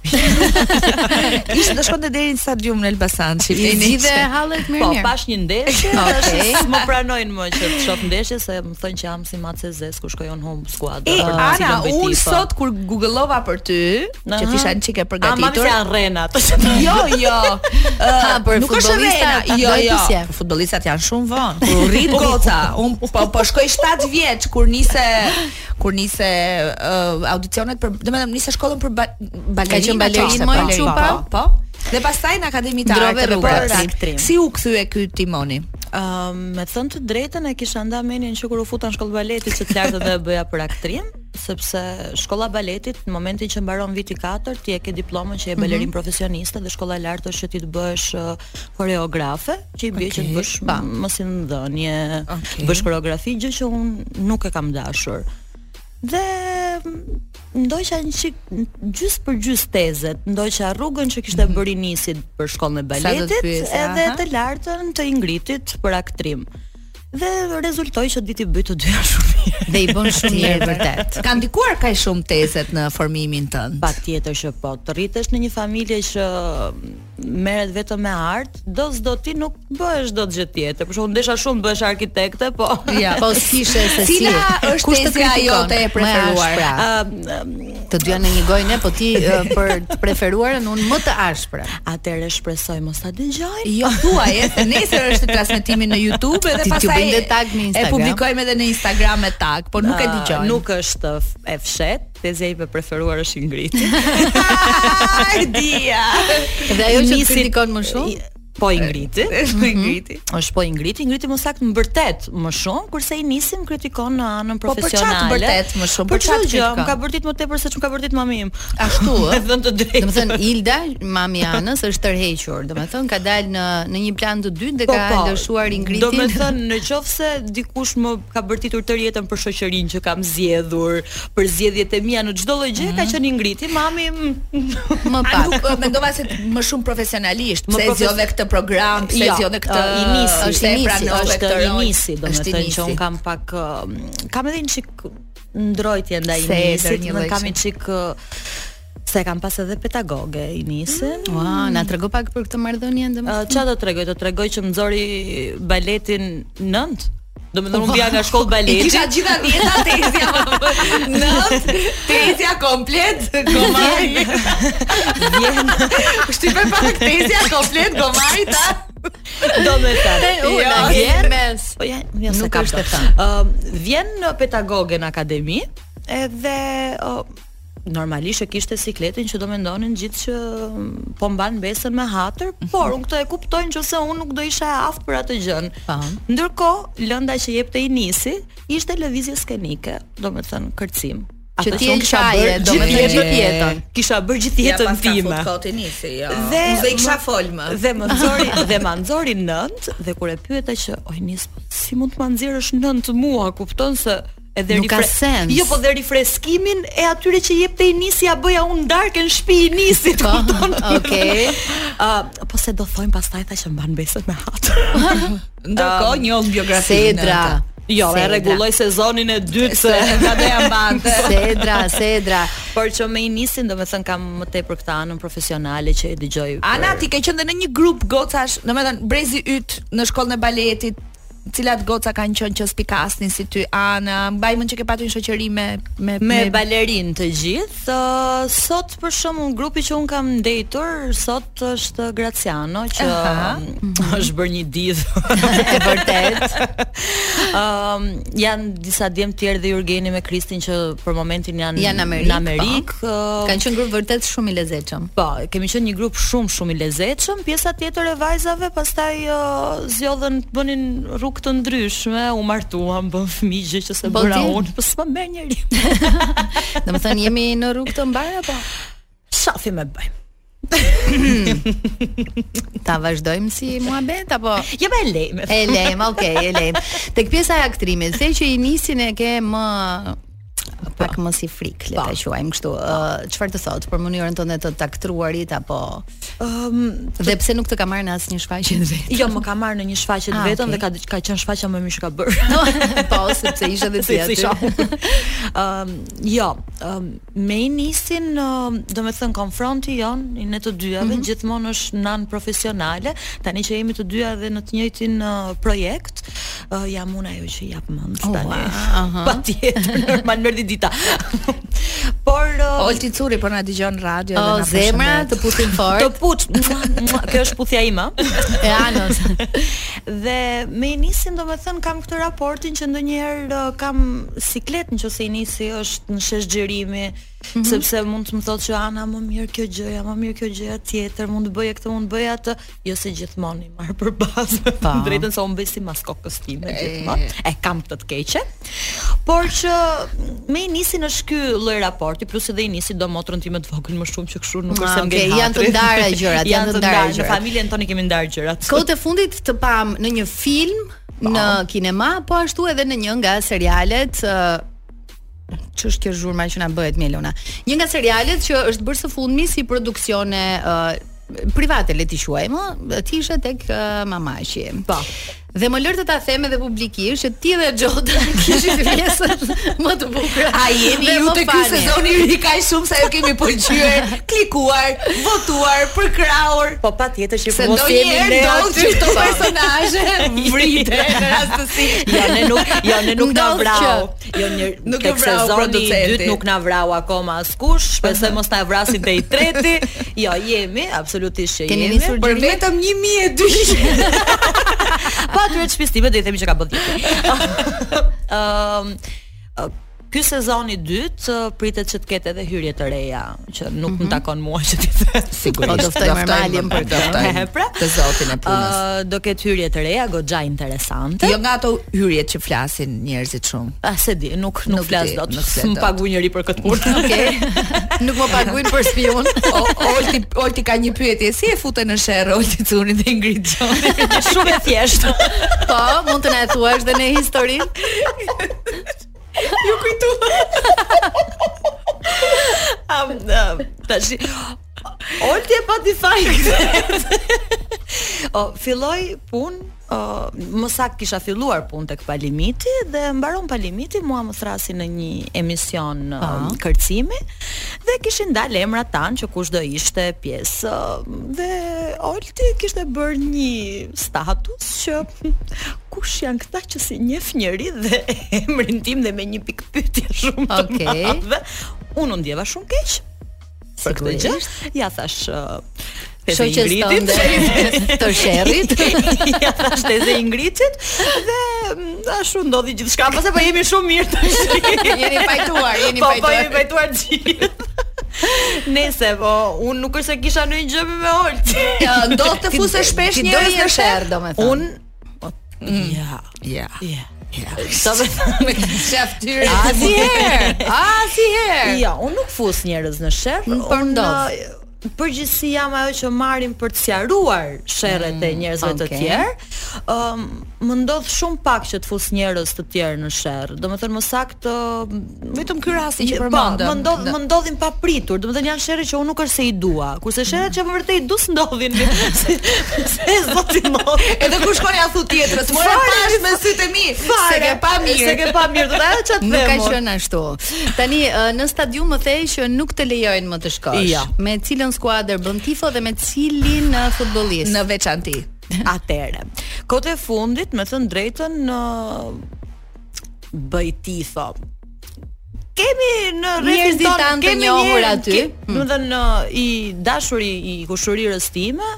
[LAUGHS] Ishte do shkonte deri në stadium në Elbasan, I shifni. zgjidhe hallet mirë Po, mirë. [LAUGHS] pash një ndeshje, Okej. tash më pranojnë më që të shoh ndeshje se më thonë që jam si Mace Zez ku shkojnë home Ah, skuadra. E, për të Ana, cilën bëj unë po. tifo. sot kur googlova për ty, që Aha. kisha një çike Ah, A mami përgatitur. se janë rrenat. [LAUGHS] Jo, jo. [LAUGHS] Ha, për nuk është futbollistat, rena. a Jo, dojtë jo. si e? Për Futbollistat janë shumë vonë. Kur u [LAUGHS] rrit goca, un po po shkoj 7 vjeç kur nise kur nise uh, audicionet për, domethënë nise shkollën për ba, balerina. qenë balerinë, qofse, moj, po, Qupa? Po. po. Dhe pastaj në Akademi të Ndrove Arteve rrugës. për Aktrim. Arakt. Si u kthye ky Timoni? Ëm, me të thënë të drejtën e kisha nda menin që kur u futa në shkollë baletit që të lartë dhe bëja për aktrim, sepse shkolla baletit në momentin që mbaron viti 4 ti e ke diplomën Mhm. që je balerin profesioniste dhe shkolla e lartë është që ti të bësh uh, koreografe, që i bie që të bësh pa. m- mos i ndonje, Okej. të bësh koreografi, gjë që unë nuk e kam dashur. Dhe m, ndoqja një çik gjys për gjys tezet, ndoqja rrugën që kishte bërë i nisit për shkollën e Mhm. Sa do të baletit, pyes, edhe aha. të lartën të ingritit për aktrim. Dhe rezultoi që diti bëj të dyja [LAUGHS] shumë mirë. Dhe i bën shumë mirë vërtet. Ka ndikuar kaq shumë tezet në formimin tënd? Pa tjetër që po, të rritesh në një familje që mm, merret vetëm me art, do s'do ti nuk bëhesh dot gjë tjetër. Për shembull, ndesha shumë të bëhesh arkitekte, po. [LAUGHS] Ja. Po s'kishe se si. Cila është Kush të tezja kritikon? jote e Më preferuar? ashpra. Ëm, Të dyja në një gojë ne, po [LAUGHS] ti eh, për të preferuarën unë më të ashpra. Atëherë shpresoj mos ta dëgjojnë. Jo, thuaj, e, se nesër është transmetimi në YouTube edhe Ti t'ju pastaj bëjnë dhe tag në Instagram. E publikojmë edhe në Instagram me tag, po por nuk e Ah, dëgjoj. Nuk është f- e fshet, tezja ime e preferuar është Ingriti. e dia. Dhe ajo që të Nisit- kritikon më shumë? Po Ingriti. Është [LAUGHS] Mhm. ngriti. është po Ingriti, Ingriti më saktë më vërtet më shumë, kurse i nisim kritikon në anën Po për çfarë të profesionale. bërtet më shumë? Për Për çfarë çfarë gjë? kritikon? Më ka bërtit më tepër se ç'm ka bërtit mami im. Ashtu [LAUGHS] Me ë. thënë të drejtë. Domethën Ilda, mami e Anës është tërhequr. Domethën ka dalë në në një plan të dytë Po, dhe ka lëshuar Ingridin. Po, Do me thënë, në qofë se dikush më ka bërtitur tërë jetën për shoqërinë që kam zgjedhur, për zgjedhjet e mia në çdo lloj gjë, Mhm. ka qenë Ingriti, mami. mm, më A pak. nuk e, mendova se më shumë profesionalisht, Më pse e profes- zgjodhe këtë program, pse Jo, zgjodhe këtë. i nisi, pse është i e nisi, pranove është këtë i rol? nisi, Është i domethënë që nisi. un kam pak ë, kam edhe një çik ndrojtje ndaj i Se e nisit, dërë një dhe lloj kam një çik ë, se kam pas edhe pedagoge i nisin. Mm. Ua, na trego pak për këtë marrëdhënie Ë, domethënë. Ç'a do t'rregoj? Do t'rregoj që më nxori baletin 9. Domethënë [LAUGHS] unë bija nga I shkollë baleti. kisha gjitha dieta [LAUGHS] tezja Nët Tezja [LAUGHS] komplet Gomari Vjen, Kështu i bëj pak [LAUGHS] tezja komplet Gomari ta domethënë. Jo, na vjen. mes. Po ja, ja se Nuk ka është e bërë. thënë. Ë, vjen në pedagoge në akademi edhe ë, normalisht e kishte sikletin që do mendonin gjithë që mm, po mban besën me hatër, Mhm. por unë këtë e kuptoj nëse unë nuk do isha e aftë për atë gjën. Pa. Ndërkohë, lënda që jepte i nisi ishte lëvizje skenike, domethënë kërcim. Që Atë ti që e unë kisha shaje, bërë gjithë domethënë, jetën, gjithë jetën. kisha bërë gjithë jetën time. Kot i nisi jo. Dhe Unë se i kisha më- fol më Dhe më nxori dhe më nxori 9 dhe kur e pyeta që oj nis po si mund të ma nxjerrësh 9 mua, kupton se edhe Nuk ka sens. Jo, po dhe rifreskimin e atyre që jepte i nisi ja bëja unë darkën në shtëpi i nisit, Po, [LAUGHS] kupton? [LAUGHS] okay. Uh, po se do thojmë pastaj tha që mban besën me hatër. [LAUGHS] um, Ndërkohë njohën biografinë Sedra. jo, e Sedra. rregulloj sezonin e dytë se Nga do jam bante Sedra, Sedra. [LAUGHS] [LAUGHS] Por që me i nisin, do me thënë kam më tepër këtë anën profesionale që e dëgjoj. për- Ana ti ke qenë dhe në një grup gocash Domethënë brezi yt në shkollën e baletit cilat goca kanë qenë që spikasnin si ty Ana, mbajmën që ke patur një shoqëri me me me balerin të gjithë. ë, sot për shembull grupi që un kam ndejtur sot është Graciano që Aha. ëm, Mhm. është bërë një ditë. [LAUGHS] E vërtet. Ëm janë disa djem tjerë dhe Jurgeni me Kristin që për momentin janë Janë në Amerikë, po. në Amerikë. ë, Kanë qenë grup vërtet shumë i lezetshëm. Po, kemi qenë një grup shumë shumë i lezetshëm. Pjesa tjetër e vajzave pastaj uh, zgjodhën të bënin rrugë të ndryshme, u martuan, bën fëmijë gjë që se Po bëra ti? unë, po s'më merr njëri. [LAUGHS] Domethënë jemi në rrugë të po. mbar apo Shafi me bëjmë. ta vazhdojmë si muhabet apo Jo me lejmë. e lejm, okay, e lejm. Tek pjesa e aktrimit, the që i nisin e ke më pak më si frik, le ta quajmë kështu. Ë, Çfarë të thotë për mënyrën tënde të taktruarit apo Ëm, dhe pse nuk të ka marrë në asnjë shfaqje të vetë? Jo, më ka marrë në një shfaqje të Ah, vetëm okay. dhe ka ka qenë shfaqja më e mirë që ka bërë. [LAUGHS] [LAUGHS] po, sepse isha dhe ti Se isha aty. unë. Ëm, jo, ëm, me i nisin, ëm, do me thënë konfronti jon, i ne të dyjave, Mhm. gjithmonë është nan profesionale, tani që jemi të dyja dhe në të njëjtin ë, projekt, ë, jam unë ajo që jap mend Oh, tani. wow, aha. [LAUGHS] Pa tjetër, normal [LAUGHS] merdi [LAUGHS] dita. Por uh, ë, Olti Curi po na dëgjon radio O, dhe na zemra përshëndet. të putin të [LAUGHS] fort. puç, mua, mua, kjo është puthja ime. E anos. Dhe me i nisin do me thënë kam këtë raportin që ndonjëherë ë, kam siklet në që se i nisi është në shesh gjërimi Mhm. sepse mund të më thotë që ana më mirë kjo gjëja, më mirë kjo gjëja tjetër, mund të bëje këtë, mund të bëje atë, jo se gjithmonë i marr për bazë. Pa. [LAUGHS] Në Drejtën se unë bëj si mas kokës time gjithmonë. E kam këtë të keqe. Por që me i nisin është ky lloj raporti, plus edhe i nisi do motrën time të vogël më shumë që kështu Ah, nuk është se më okay, ngej janë të hatri. ndara [LAUGHS] gjërat, janë të ndara Në gjërat. familjen tonë i kemi ndarë gjërat. Kohët e fundit të pam në një film, në kinema, po ashtu edhe në një nga serialet ë, që është kjo zhurma që na bëhet Melona. Një nga serialet që është bërë së fundmi si produksione ë, private le t'i quajmë, ë, ti ishe tek uh, mamaqi. Po. Dhe më lër të ta them edhe publikisht që ti dhe Xhoda kishit pjesën më të bukura. A jeni Dhe ju më të ky fani. sezoni i ri kaq shumë sa ju kemi pëlqyer, klikuar, votuar, përkrahur. Po pa tjetër që Se mos jemi ndonjëherë ne do aty që këto personazhe vrite në [LAUGHS] rastësisht. Jo, ne nuk, jo, ne nuk na Ndodh vrau. që- Jo, një, Nuk tek e vrau sezoni i producenti. dytë nuk na vrau akoma askush, shpresoj mos na vrasin te i treti. Jo, jemi, absolutisht që Keni jemi. nisur Për vetëm [LAUGHS] 1200 Po atyre të shpistime do i themi që ka [LAUGHS] bën vite. Ëm ë, Ky sezon i dytë ë, pritet që të ketë edhe hyrje të reja, që nuk Mhm. më takon mua që ti them. Po do ftojmë Ermalin për këtë. [LAUGHS] E, pra. të zotin e punës. Ë, do ketë hyrje të reja goxha interesante. Jo nga ato hyrjet që flasin njerëzit shumë. A Ah, se di, nuk nuk, Nuk flas di, dot. nuk flas Më dot. pagu njëri për këtë punë. [LAUGHS] [LAUGHS] Okej. Nuk më paguajnë për spion. O, Olti, Olti ka një pyetje, si e fute në sherr Olti Cunin dhe Ingrid Gjoni? Shumë e thjeshtë. Po, mund të na e thuash dhe në historinë. Am am, tash Olti e pati fajin. [LAUGHS] O, filloj punë, o, më sakt kisha filluar punë tek Palimiti dhe mbaron Palimiti, mua më thrasi në një emision o, kërcimi dhe kishin dalë emrat tanë që kush do ishte pjesë. o, Dhe Olti kishte bërë një status që [LAUGHS] kush janë këta që si njeh njëri dhe [LAUGHS] emrin tim dhe me një pikë pyetje shumë të Okej. madhe. Unë u ndjeva shumë keq për këtë gjë. Ja thash uh, teze Shoqes Ingridit. tënde [LAUGHS] të sherrit. [LAUGHS] ja thash teze Ingridit dhe mm, ashtu ndodhi gjithçka. Pastaj po jemi shumë mirë tash. [LAUGHS] [LAUGHS] Jeni pajtuar, jeni po po pajtuar. jemi pajtuar [LAUGHS] gjithë. Nese, po unë nuk është se kisha ndonjë gjë me Olti. Ja, do të fuse shpesh Ti do je njerëz në sherr, sherr. domethënë. Unë o, ja, Ja. Mm. ja. Sa me me [LAUGHS] shaftyra. Asnjëherë. Asnjëherë. Jo, unë nuk fus njerëz në sherr, Nuk po ndodh. ë, Përgjithësi jam ajo që marrin për të sqaruar sherrët e Mm, njerëzve okay. të tjerë. Ëm më ndodh shumë pak që të fus njerëz të tjerë në sherr. Domethënë më saktë Vetëm ky rasti që Po, përmendëm. më ndodh më ndodhin pa pritur. Domethënë janë sherrë që unë nuk është se i dua. Kurse sherrët që më vërtet i dus ndodhin. [LAUGHS] se se zoti mos. Edhe kur shkoj thu tjetrës, mora Fare, pash me sytë e mi, se ke pa mirë. Se ke pa mirë, do ta ajo çat Nuk ka qenë ashtu. Tani ë, në stadium më thej që nuk të lejojnë më të shkosh. Jo. Ja. Me cilën skuadër bën tifo dhe me cilin ë, futbollist? në veçanti. Atëre. Kote e fundit, me thënë drejtën, në bëj tifo. Kemi në rrethin Njerëzit ton, tanë të kemi njohur njerë- aty. Hmm. ke- Do të thënë i dashuri i kushurirës time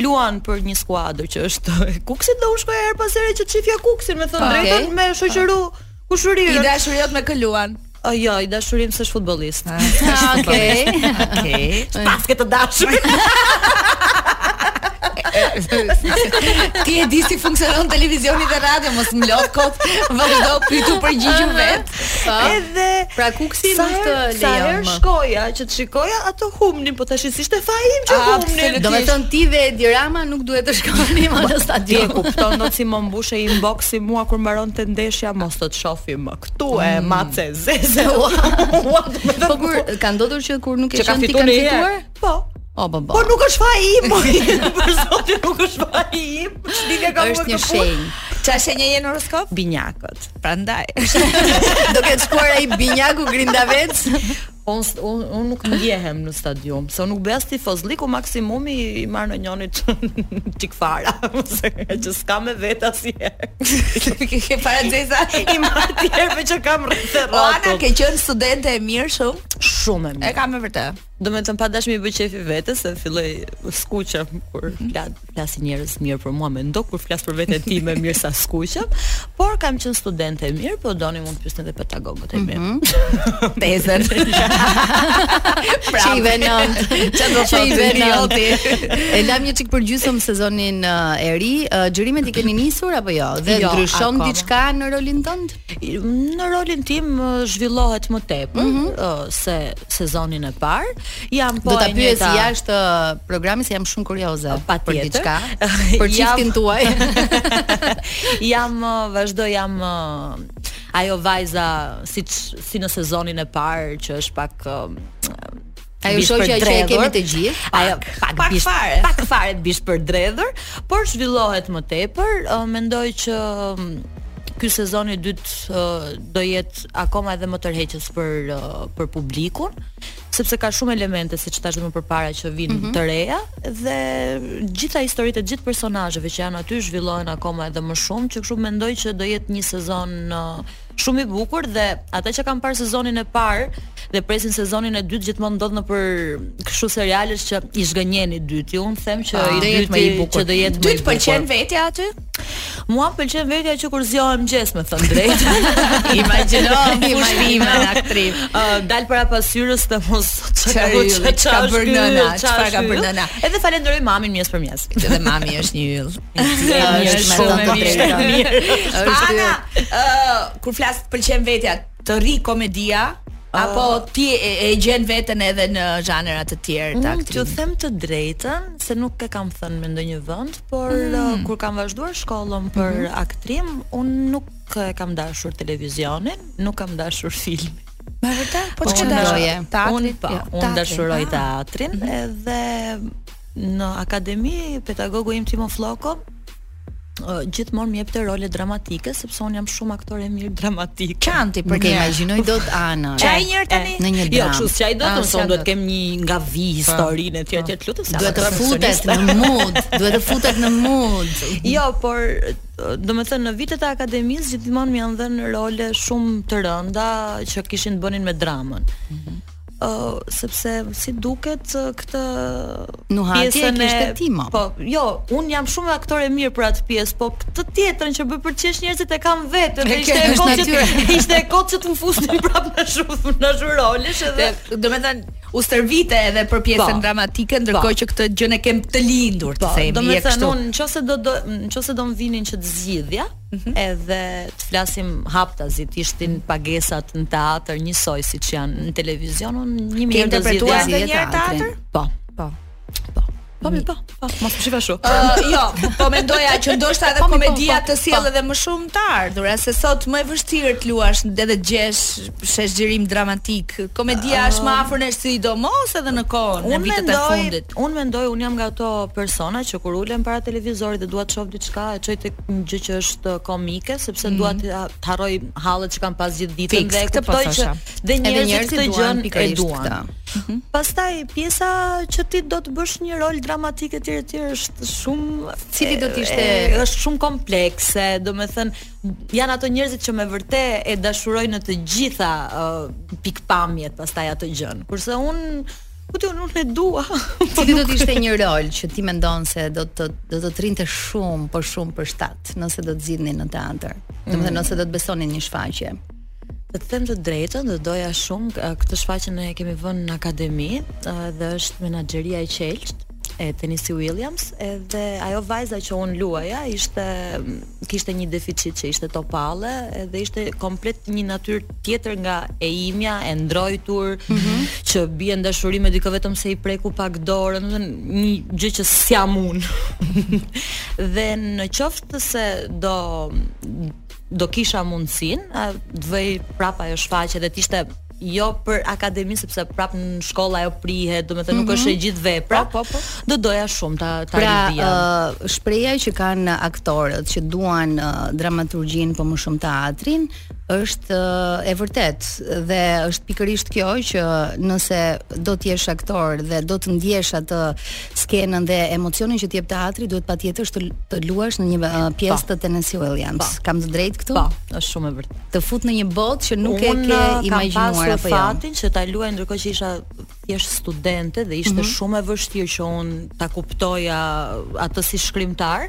luan për një skuadër që është e Kuksit dhe unë shkoja her pas here që çifja Kuksin, me thënë Ah. drejtën, Okej. me shoqëru I kushurirën. dashur jot me këluan. O, jo, i dashurim s'është futbollist. [LAUGHS] Ah, [LAUGHS] Okej. [LAUGHS] Okej. Basket të dashurit. Ti e di si funksionon televizioni dhe radio, mos më lot kot. Vazhdo pytu përgjigju vet. Po. Edhe Pra kuksi Sa nuk të herë- Sa lejon herë më. shkoja që të shikoja ato humnin, po tash ishte fajim që humnin. Do me thënë ti dhe Edi Rama nuk duhet të [LAUGHS] shkoni më në Ti e stadium. kupton do si më mbushe inboxi mua kur mbaron të ndeshja mos të të shohim më këtu e mace zeze. Ua, do me Po thënë, kur ka ndodhur që kur nuk e që ka shën ti fituar kanë një herë. fituar? Po. O po po. Po nuk është faji im, po [LAUGHS] për zotin nuk është faji im. Çditja ka Është një shenjë. Qa shenje je në horoskop? binjakët. Prandaj. [LAUGHS] Do ketë shkuar ai Binjaku Grindavec. [LAUGHS] Unë un, un nuk ndjehem në stadium, se unë nuk bëj as tifozliku maksimumi i marr në njonit [LAUGHS] çik fara, [LAUGHS] ose që s'ka me vetë asnjëherë. [LAUGHS] [LAUGHS] Ke ke para xeza. I marr tjerëve që kam rreth e Po, Ana rrotull. ke qenë studente e mirë shumë. Shumë e E mirë. kam me vërtet. Do me të pa dashmi i bëj qefi vetes se filloj skuqem kur Mhm. flas flasin njerëz mirë për mua, mendo kur flas për veten time mirë sa skuqem, por kam qenë studente e mirë, po doni mund të pyesin edhe pedagogët Mhm. e mi. Tezën. Që i [LAUGHS] venon. Qa do Që i thotë venon. idioti? E lam një çik për gjysmë sezonin uh, e ri. Uh, Gjërimet i keni nisur apo jo? Dhe Jo, ndryshon akoma. diçka në rolin tënd? Në rolin tim ë, zhvillohet më tepër ë, se sezonin e parë. Jam Mhm. po Do ta e pyes njëjta- jashtë uh, programit se jam shumë kurioze për patjetër. [LAUGHS] diçka, për Jam- çiftin tuaj. [LAUGHS] jam ë, vazhdo jam ë, ajo vajza siç si në sezonin e parë që është pak ë, Ajo bish për shoqja që e dredhur. kemi të [LAUGHS] gjithë. Ajo pak, Pak bish, fare. pak fare të bish për dredhur, por zhvillohet më tepër. Ë, Mendoj që mm, ky sezoni i dytë ë, do jetë akoma edhe më tërheqës për ë, për publikun, sepse ka shumë elemente siç thash më përpara që vinë Mhm. të reja dhe gjitha historitë e gjithë personazheve që janë aty zhvillohen akoma edhe më shumë, që kështu mendoj që do jetë një sezon ë, shumë i bukur dhe ata që kanë parë sezonin e parë dhe presin sezonin e dytë gjithmonë ndodh në për kështu serialesh që i zgënjen i dyti. Unë them që i Ah. do dyti jetë më i bukur. Ah, që do jetë më i Ty të bukur. pëlqen vetja aty? Mua më pëlqen vetja që kur zgjohem mëngjes, me thënë [LAUGHS] drejtë. [LAUGHS] Imagjino Pushtimin aktrim. [LAUGHS] Ë, dal para pasyrës të mos Çfarë yll, ç'a ka është bërë yll, nëna, ç'a çfarë është ka bërë yll. nëna. Edhe falenderoj mamin mjes për mjes. Që dhe mami është një [LAUGHS] yll. Është Është me shumë thënë e të mirë. drejtën. Është Ana, ë kur flas të pëlqen vetja, të ri komedia apo ti e, e gjen veten edhe në zhanra të tjerë të Unë t'ju aktimit. them të drejtën se nuk e kam thënë me ndonjë vend, por Mm. uh, kur kam vazhduar shkollën për Mhm. aktrim, unë nuk e kam dashur televizionin, nuk kam dashur film. Me vërtet? Po Po, çka unë dash? doje. Teatri? Unë po, Jo, unë teatri. dashuroj Ah. teatrin edhe në akademi pedagogu im Timo Floko ë, gjithmonë më jepte role dramatike sepse un jam shumë aktore mirë dramatike. Kanti për Nuk e një. imagjinoj dot Ana. Çaj njëherë tani? Në një Jo, dramë. kështu s'qaj do Ah, të s'qa thonë duhet do. të kem një nga vi historinë e tjerë tjerë lutem se Duhet të amator futet profesioniste. në mood, duhet të futet në mood. Jo, por do të thënë në vitet e akademisë gjithmonë më janë dhënë role shumë të rënda që kishin të bënin me dramën. Ëh, Mhm. sepse si duket ë, këtë Nuhati e pjesën kishte Timo. Po, jo, un jam shumë aktore mirë për atë pjesë, po këtë tjetrën që bëj për të qesh njerëzit e kam vetë, dhe E ishte kjo e është kotë që natyra. ishte e kotë që të më fusnin prapë në shumë në shumë rolesh edhe Dhe, do me thënë u stërvite edhe për pjesën Po. dramatike ndërkohë që këtë gjë ne kem të lindur të Po, themi do me e thënë kështu. unë nëse do do nëse do më vinin që të zgjidhja, edhe të flasim haptazi, të ishtin pagesat në teatr njësoj siç janë në televizion, unë një Ke mirë do interpretuar zgjidhja. si e ndonjëherë teatrin. teatr? Po. Po. Po. Po, mi, po, po, mos më shiva shumë. Ë, jo, po mendoja që ndoshta edhe Po, mi, po, komedia po, të sjell po. edhe më shumë të ardhur, se sot më e vështirë të luash edhe të gjesh sheshgjirim dramatik. Komedia është më afër nesh sidomos edhe në kohën në Unë vitet e mendoj, fundit. unë mendoj, unë jam nga ato persona që kur ulem para televizorit dhe dua të shoh diçka, e çoj tek një gjë që është komike, sepse dua të të harroj hallet që kam pas gjithë ditën Fiks, dhe e këtë po kuptoj që thosha. dhe Edhe njerëzit njerëzit këtë gjën duan e pikërisht duan. këtë. Pastaj pjesa që ti do të bësh një rol dramatik etj etj është shumë Cili do t'ishte- e- është shumë komplekse, domethënë janë ato njerëzit që me vërtet e dashurojnë në të gjitha uh, pikpamjet pastaj atë gjën. Kurse un po ti unë e dua. [LAUGHS] po Cili do të [LAUGHS] ishte një rol që ti mendon se do të do të trinte shumë, por shumë për shtat, nëse do të zgjidhni në teatr. Domethënë nëse do të besonin një shfaqje. Të të them të drejtën, do doja shumë k- këtë shfaqje ne e kemi vënë në akademi ë, dhe është menaxheria e qelçt e Tennessee Williams edhe ajo vajza që unë luaja ishte kishte një deficit që ishte topalle edhe ishte komplet një natyrë tjetër nga e imja e ndrojtur që bie në dashuri me dikë vetëm se i preku pak dorën, do të thënë një gjë që s'jam unë. [LAUGHS] dhe në qoftë se do do kisha mundësin të vëj prap ajo shfaqje dhe të ishte jo për akademi sepse prap në shkolla ajo prihet, domethënë nuk është e gjithë vepra. Mhm. Po, po, po. Do doja shumë ta ta Pra, rivija. uh, shpreha që kanë aktorët që duan uh, dramaturgjinë po më shumë teatrin është uh, e vërtet dhe është pikërisht kjo që nëse do të jesh aktor dhe do të ndjesh atë skenën dhe emocionin që të jep teatri, duhet patjetër të, të luash në një uh, pjesë të Tennessee Williams. Kam të drejtë këtu? po, është shumë e vërtetë. Të fut në një botë që nuk e ke imagjinuar apo uh, eh, Kam pasur jo. fatin që ta luaj ndërkohë që isha thjesht studente dhe ishte Mhm. shumë e vështirë që un ta kuptoja atë si shkrimtar.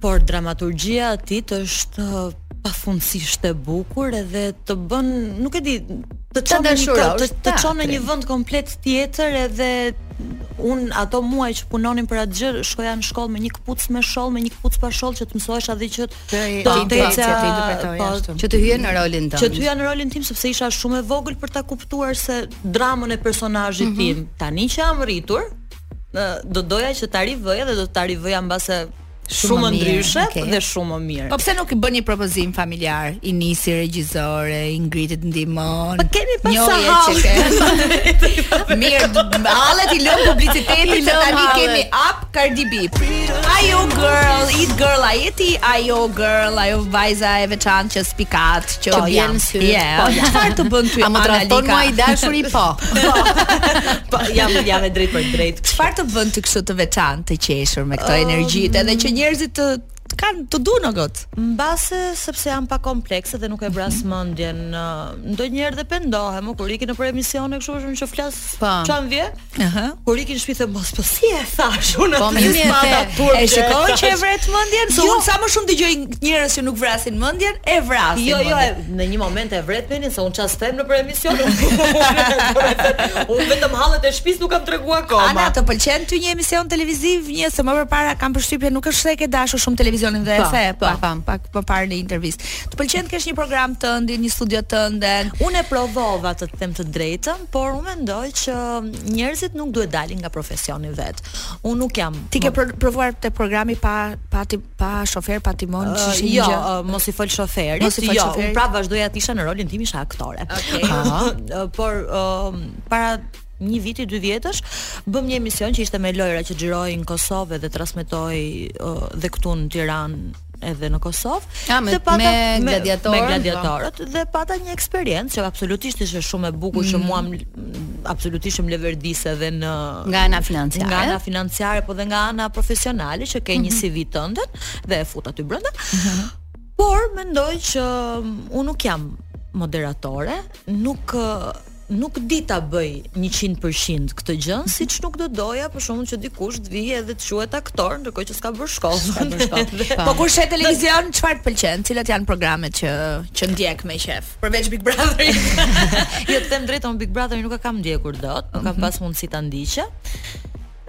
Por dramaturgjia e tij është ë, pafundësisht e bukur edhe të bën, nuk e di, të Ta çon në një kë- të, dashurosh të çon në një teatrin. vend komplet tjetër edhe un ato muaj që punonin për atë gjë shkoja në shkollë me një këpuc me sholl, me një këpuc pa sholl që të mësohesha dhe që Të- do të të interpretoja, ecja- të interpretoja, po, ashtu. Që të hyje në rolin tënd. që ty janë në rolin tim sepse isha shumë e vogël për ta kuptuar se dramën e personazhit Mhm. tim. Tani që jam rritur, ë, do doja që ta rivëja dhe do ta rivëja mbase Shumë shumë mirë, ndryshe okay. dhe shumë më mirë. Po pse nuk i bën një propozim familjar? I nisi regjizore, i ngritet ndihmon. Po kemi pas sa njohje hall. që ke. Mirë, d- hallet i lëm publicitetin I se lëm tani hallet. kemi up Cardi B. Ajo girl, it girl, a jeti ajo girl, ajo vajza e veçantë që spikat, që Që bjen jam. në sy. Yeah. Po, çfarë të bën [LAUGHS] ty? A më trajton Analika? mua i dashuri po. Po [LAUGHS] jam jam e drejtë për drejtë. Çfarë të bën ty kështu të veçantë, të qeshur me këto energjitë, edhe që njerëzit të të kanë të duan o gotë. Mbase sepse jam pa komplekse dhe nuk e bras mendjen, ë, ndonjëherë dhe pendohem, u, kur ikin nëpër emisione kështu shumë që flas Po. çan vje. Aha. Kur ikin në shtëpi the mos po si e thash unë Po, atë mirë e smata the. turke E shikon thash." që e vret mendjen, se Jo. unë sa më shumë dëgjoj njerëz që nuk vrasin mendjen, e vrasin. Jo, jo, mendjen. e- në një moment e vret menin se unë çast them në për [LAUGHS] emision. unë- unë vetëm hallet e shtëpisë nuk kam treguar Ana, akoma. të pëlqen ty një emision televiziv, një se më përpara kam përshtypjen nuk është se e ke dashur shumë televizionin dhe e Pa, the, po, pa. pa, pak më parë në intervistë. Të pëlqen të kesh një program tënd, një studio tënden. Unë e provova të them të drejtën, por unë mendoj që njerëzit nuk duhet dalin nga profesioni vet. Unë nuk jam Ti ke pro- provuar te programi pa pa ti, pa shofer, pa Uh, timon, Ë, ç'ishte një jo, gjë? ë, mos i fol shoferit. Mos i fol jo, shoferit. [LAUGHS] unë prapë vazdoja të isha në rolin tim isha aktore. Okej. Ë, por ë, para një viti, dy vjetësh, bëm një emision që ishte me lojra që xhiroi në Kosovë dhe transmetoi uh, dhe këtu në Tiranë edhe në Kosovë. Ah, me- Dhe pata- me me gladiatorë? me gladiatorët dhe pata një eksperiencë që absolutisht ishte shumë e bukur që mua më- absolutisht më leverdise dhe në Nga ana financiare. Nga ana financiare, Mhm. po dhe nga ana profesionale që ke një CV tëndën dhe e fut aty brenda. Mhm. Por mendoj që mm, unë nuk jam moderatore, nuk ë, nuk di ta bëj 100% këtë gjë, siç nuk do doja për shkakun që dikush të vijë edhe të quhet aktor, ndërkohë që s'ka bërë shkollën. [LAUGHS] Po kur shet televizion, çfarë të pëlqen? Cilat janë programet që që ndjek me qef? Përveç Big Brotherit. jo, të them drejtë, unë Big Brother nuk e kam ndjekur dot, nuk Mhm. kam pas mundësi ta ndiqja.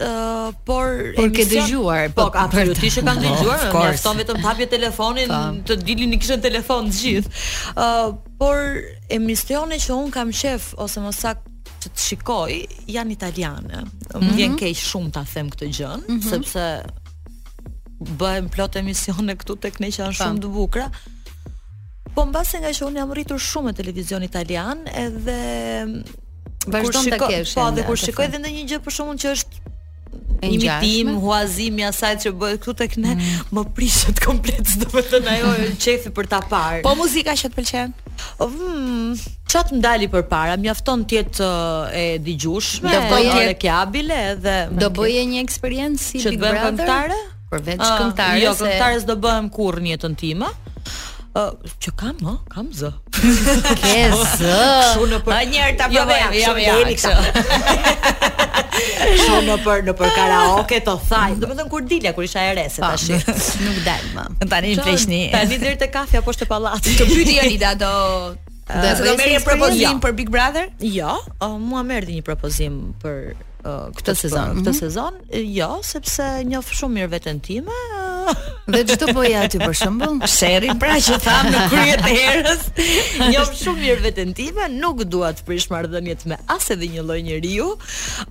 Uh, por Por ke dëgjuar, po po, absolutisht e kam [LAUGHS] dëgjuar of më course. mjafton vetëm të hapje telefonin Po. të dilin i kishën telefon të gjithë ë por emisione që un kam shef ose më saktë që të shikoj janë italiane më Mhm. vjen keq shumë ta them këtë gjën sepse bëhen plot emisione këtu tek ne që janë shumë të bukura Po mbase nga që unë jam rritur shumë me televizion italian edhe Vazhdon kur ta shiko- kesh Po, ende dhe kur atë shikoj fakt. dhe ndonjë gjë për shkakun që është E imitim, ngjashme. Mm. huazim i asaj që bëhet këtu tek ne, më prishet komplet, [LAUGHS] domethënë ajo e çefi për ta parë. [LAUGHS] Po muzika që të pëlqen? Mm, çat më dali përpara, mjafton të jetë ë, e digjushme, Do bëje- e rekjabile dhe Do bëje një eksperiencë si që të Big bëhem Brother? këngëtare? Përveç Ah, këngëtare Jo, se- këngëtares do bëhem kurrë në jetën time. Ë, që kam, ha? Kam zë. Ke [LAUGHS] zë. Kështu në për herë ta Jo, provojmë, jo, jam jo, jeni kështu. [LAUGHS] Kështu në për në për karaoke të thaj. Domethënë kur dilja kur isha e re se Po, tash. Nuk dal më. Tani më fleshni. Tani deri te kafja poshtë e pallatit. Të pyeti Jonida do Do e Do do bëj si merrje eksperiencë? propozim për Big Brother? Jo, uh, mua më erdhi një propozim për uh, këtë sezon, Këtë sezon, jo, sepse njoh shumë mirë veten time. ë, Dhe ç'do bëje aty për shembull? [LAUGHS] Sherrin pra që tham në krye të [LAUGHS] herës. njoh shumë mirë veten time, nuk dua të prish marrëdhëniet me as edhe një lloj njeriu.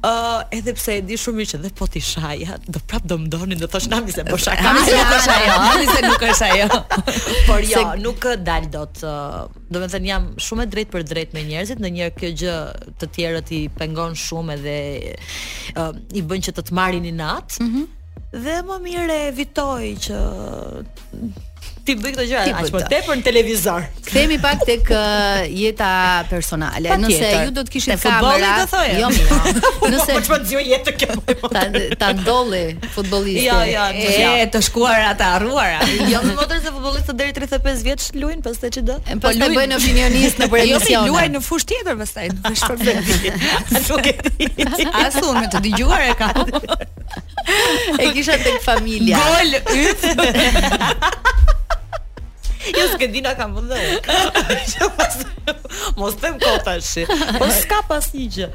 Ë, edhe pse e di shumë mirë që dhe po ti shaja, do prap do më donin, do thosh nami se po shaka. Ani se nuk është ajo, ani se nuk është ajo. [LAUGHS] Por jo, nuk ë, dal dot. ë, Do të thënë jam shumë e drejtë për drejtë me njerëzit, ndonjëherë kjo gjë të tjerët i pengon shumë edhe ë, i bën që të të marrin inat. Dhe më mirë e evitoj që ti bëj këto gjëra Ti bëj aq më këto. tepër në televizor. Kthehemi pak tek ë, jeta personale. Nëse Patjetër. ju do të kishit Te futbolli kamera, do thoje. jo mirë. [LAUGHS] Nëse Po çfarë zgjoj jetë kjo? ta ta ndolli futbollisti. Jo, jo, E, jo. E të shkuar ata harruara. [LAUGHS] Jo, më motër se futbollistët deri 35 vjeç luajnë, pastaj ç'i do? Po të bëjnë opinionist [LAUGHS] po, në për Jo si emisione. luaj në fushë tjetër pastaj. Është problem. [LAUGHS] Nuk e di. As unë me të dëgjuar e kam. E kisha tek familja. Gol yt. Jo s'ke dina kam vënë. Që pas- [LAUGHS] Mos them kot tash. Po s'ka pas një gjë.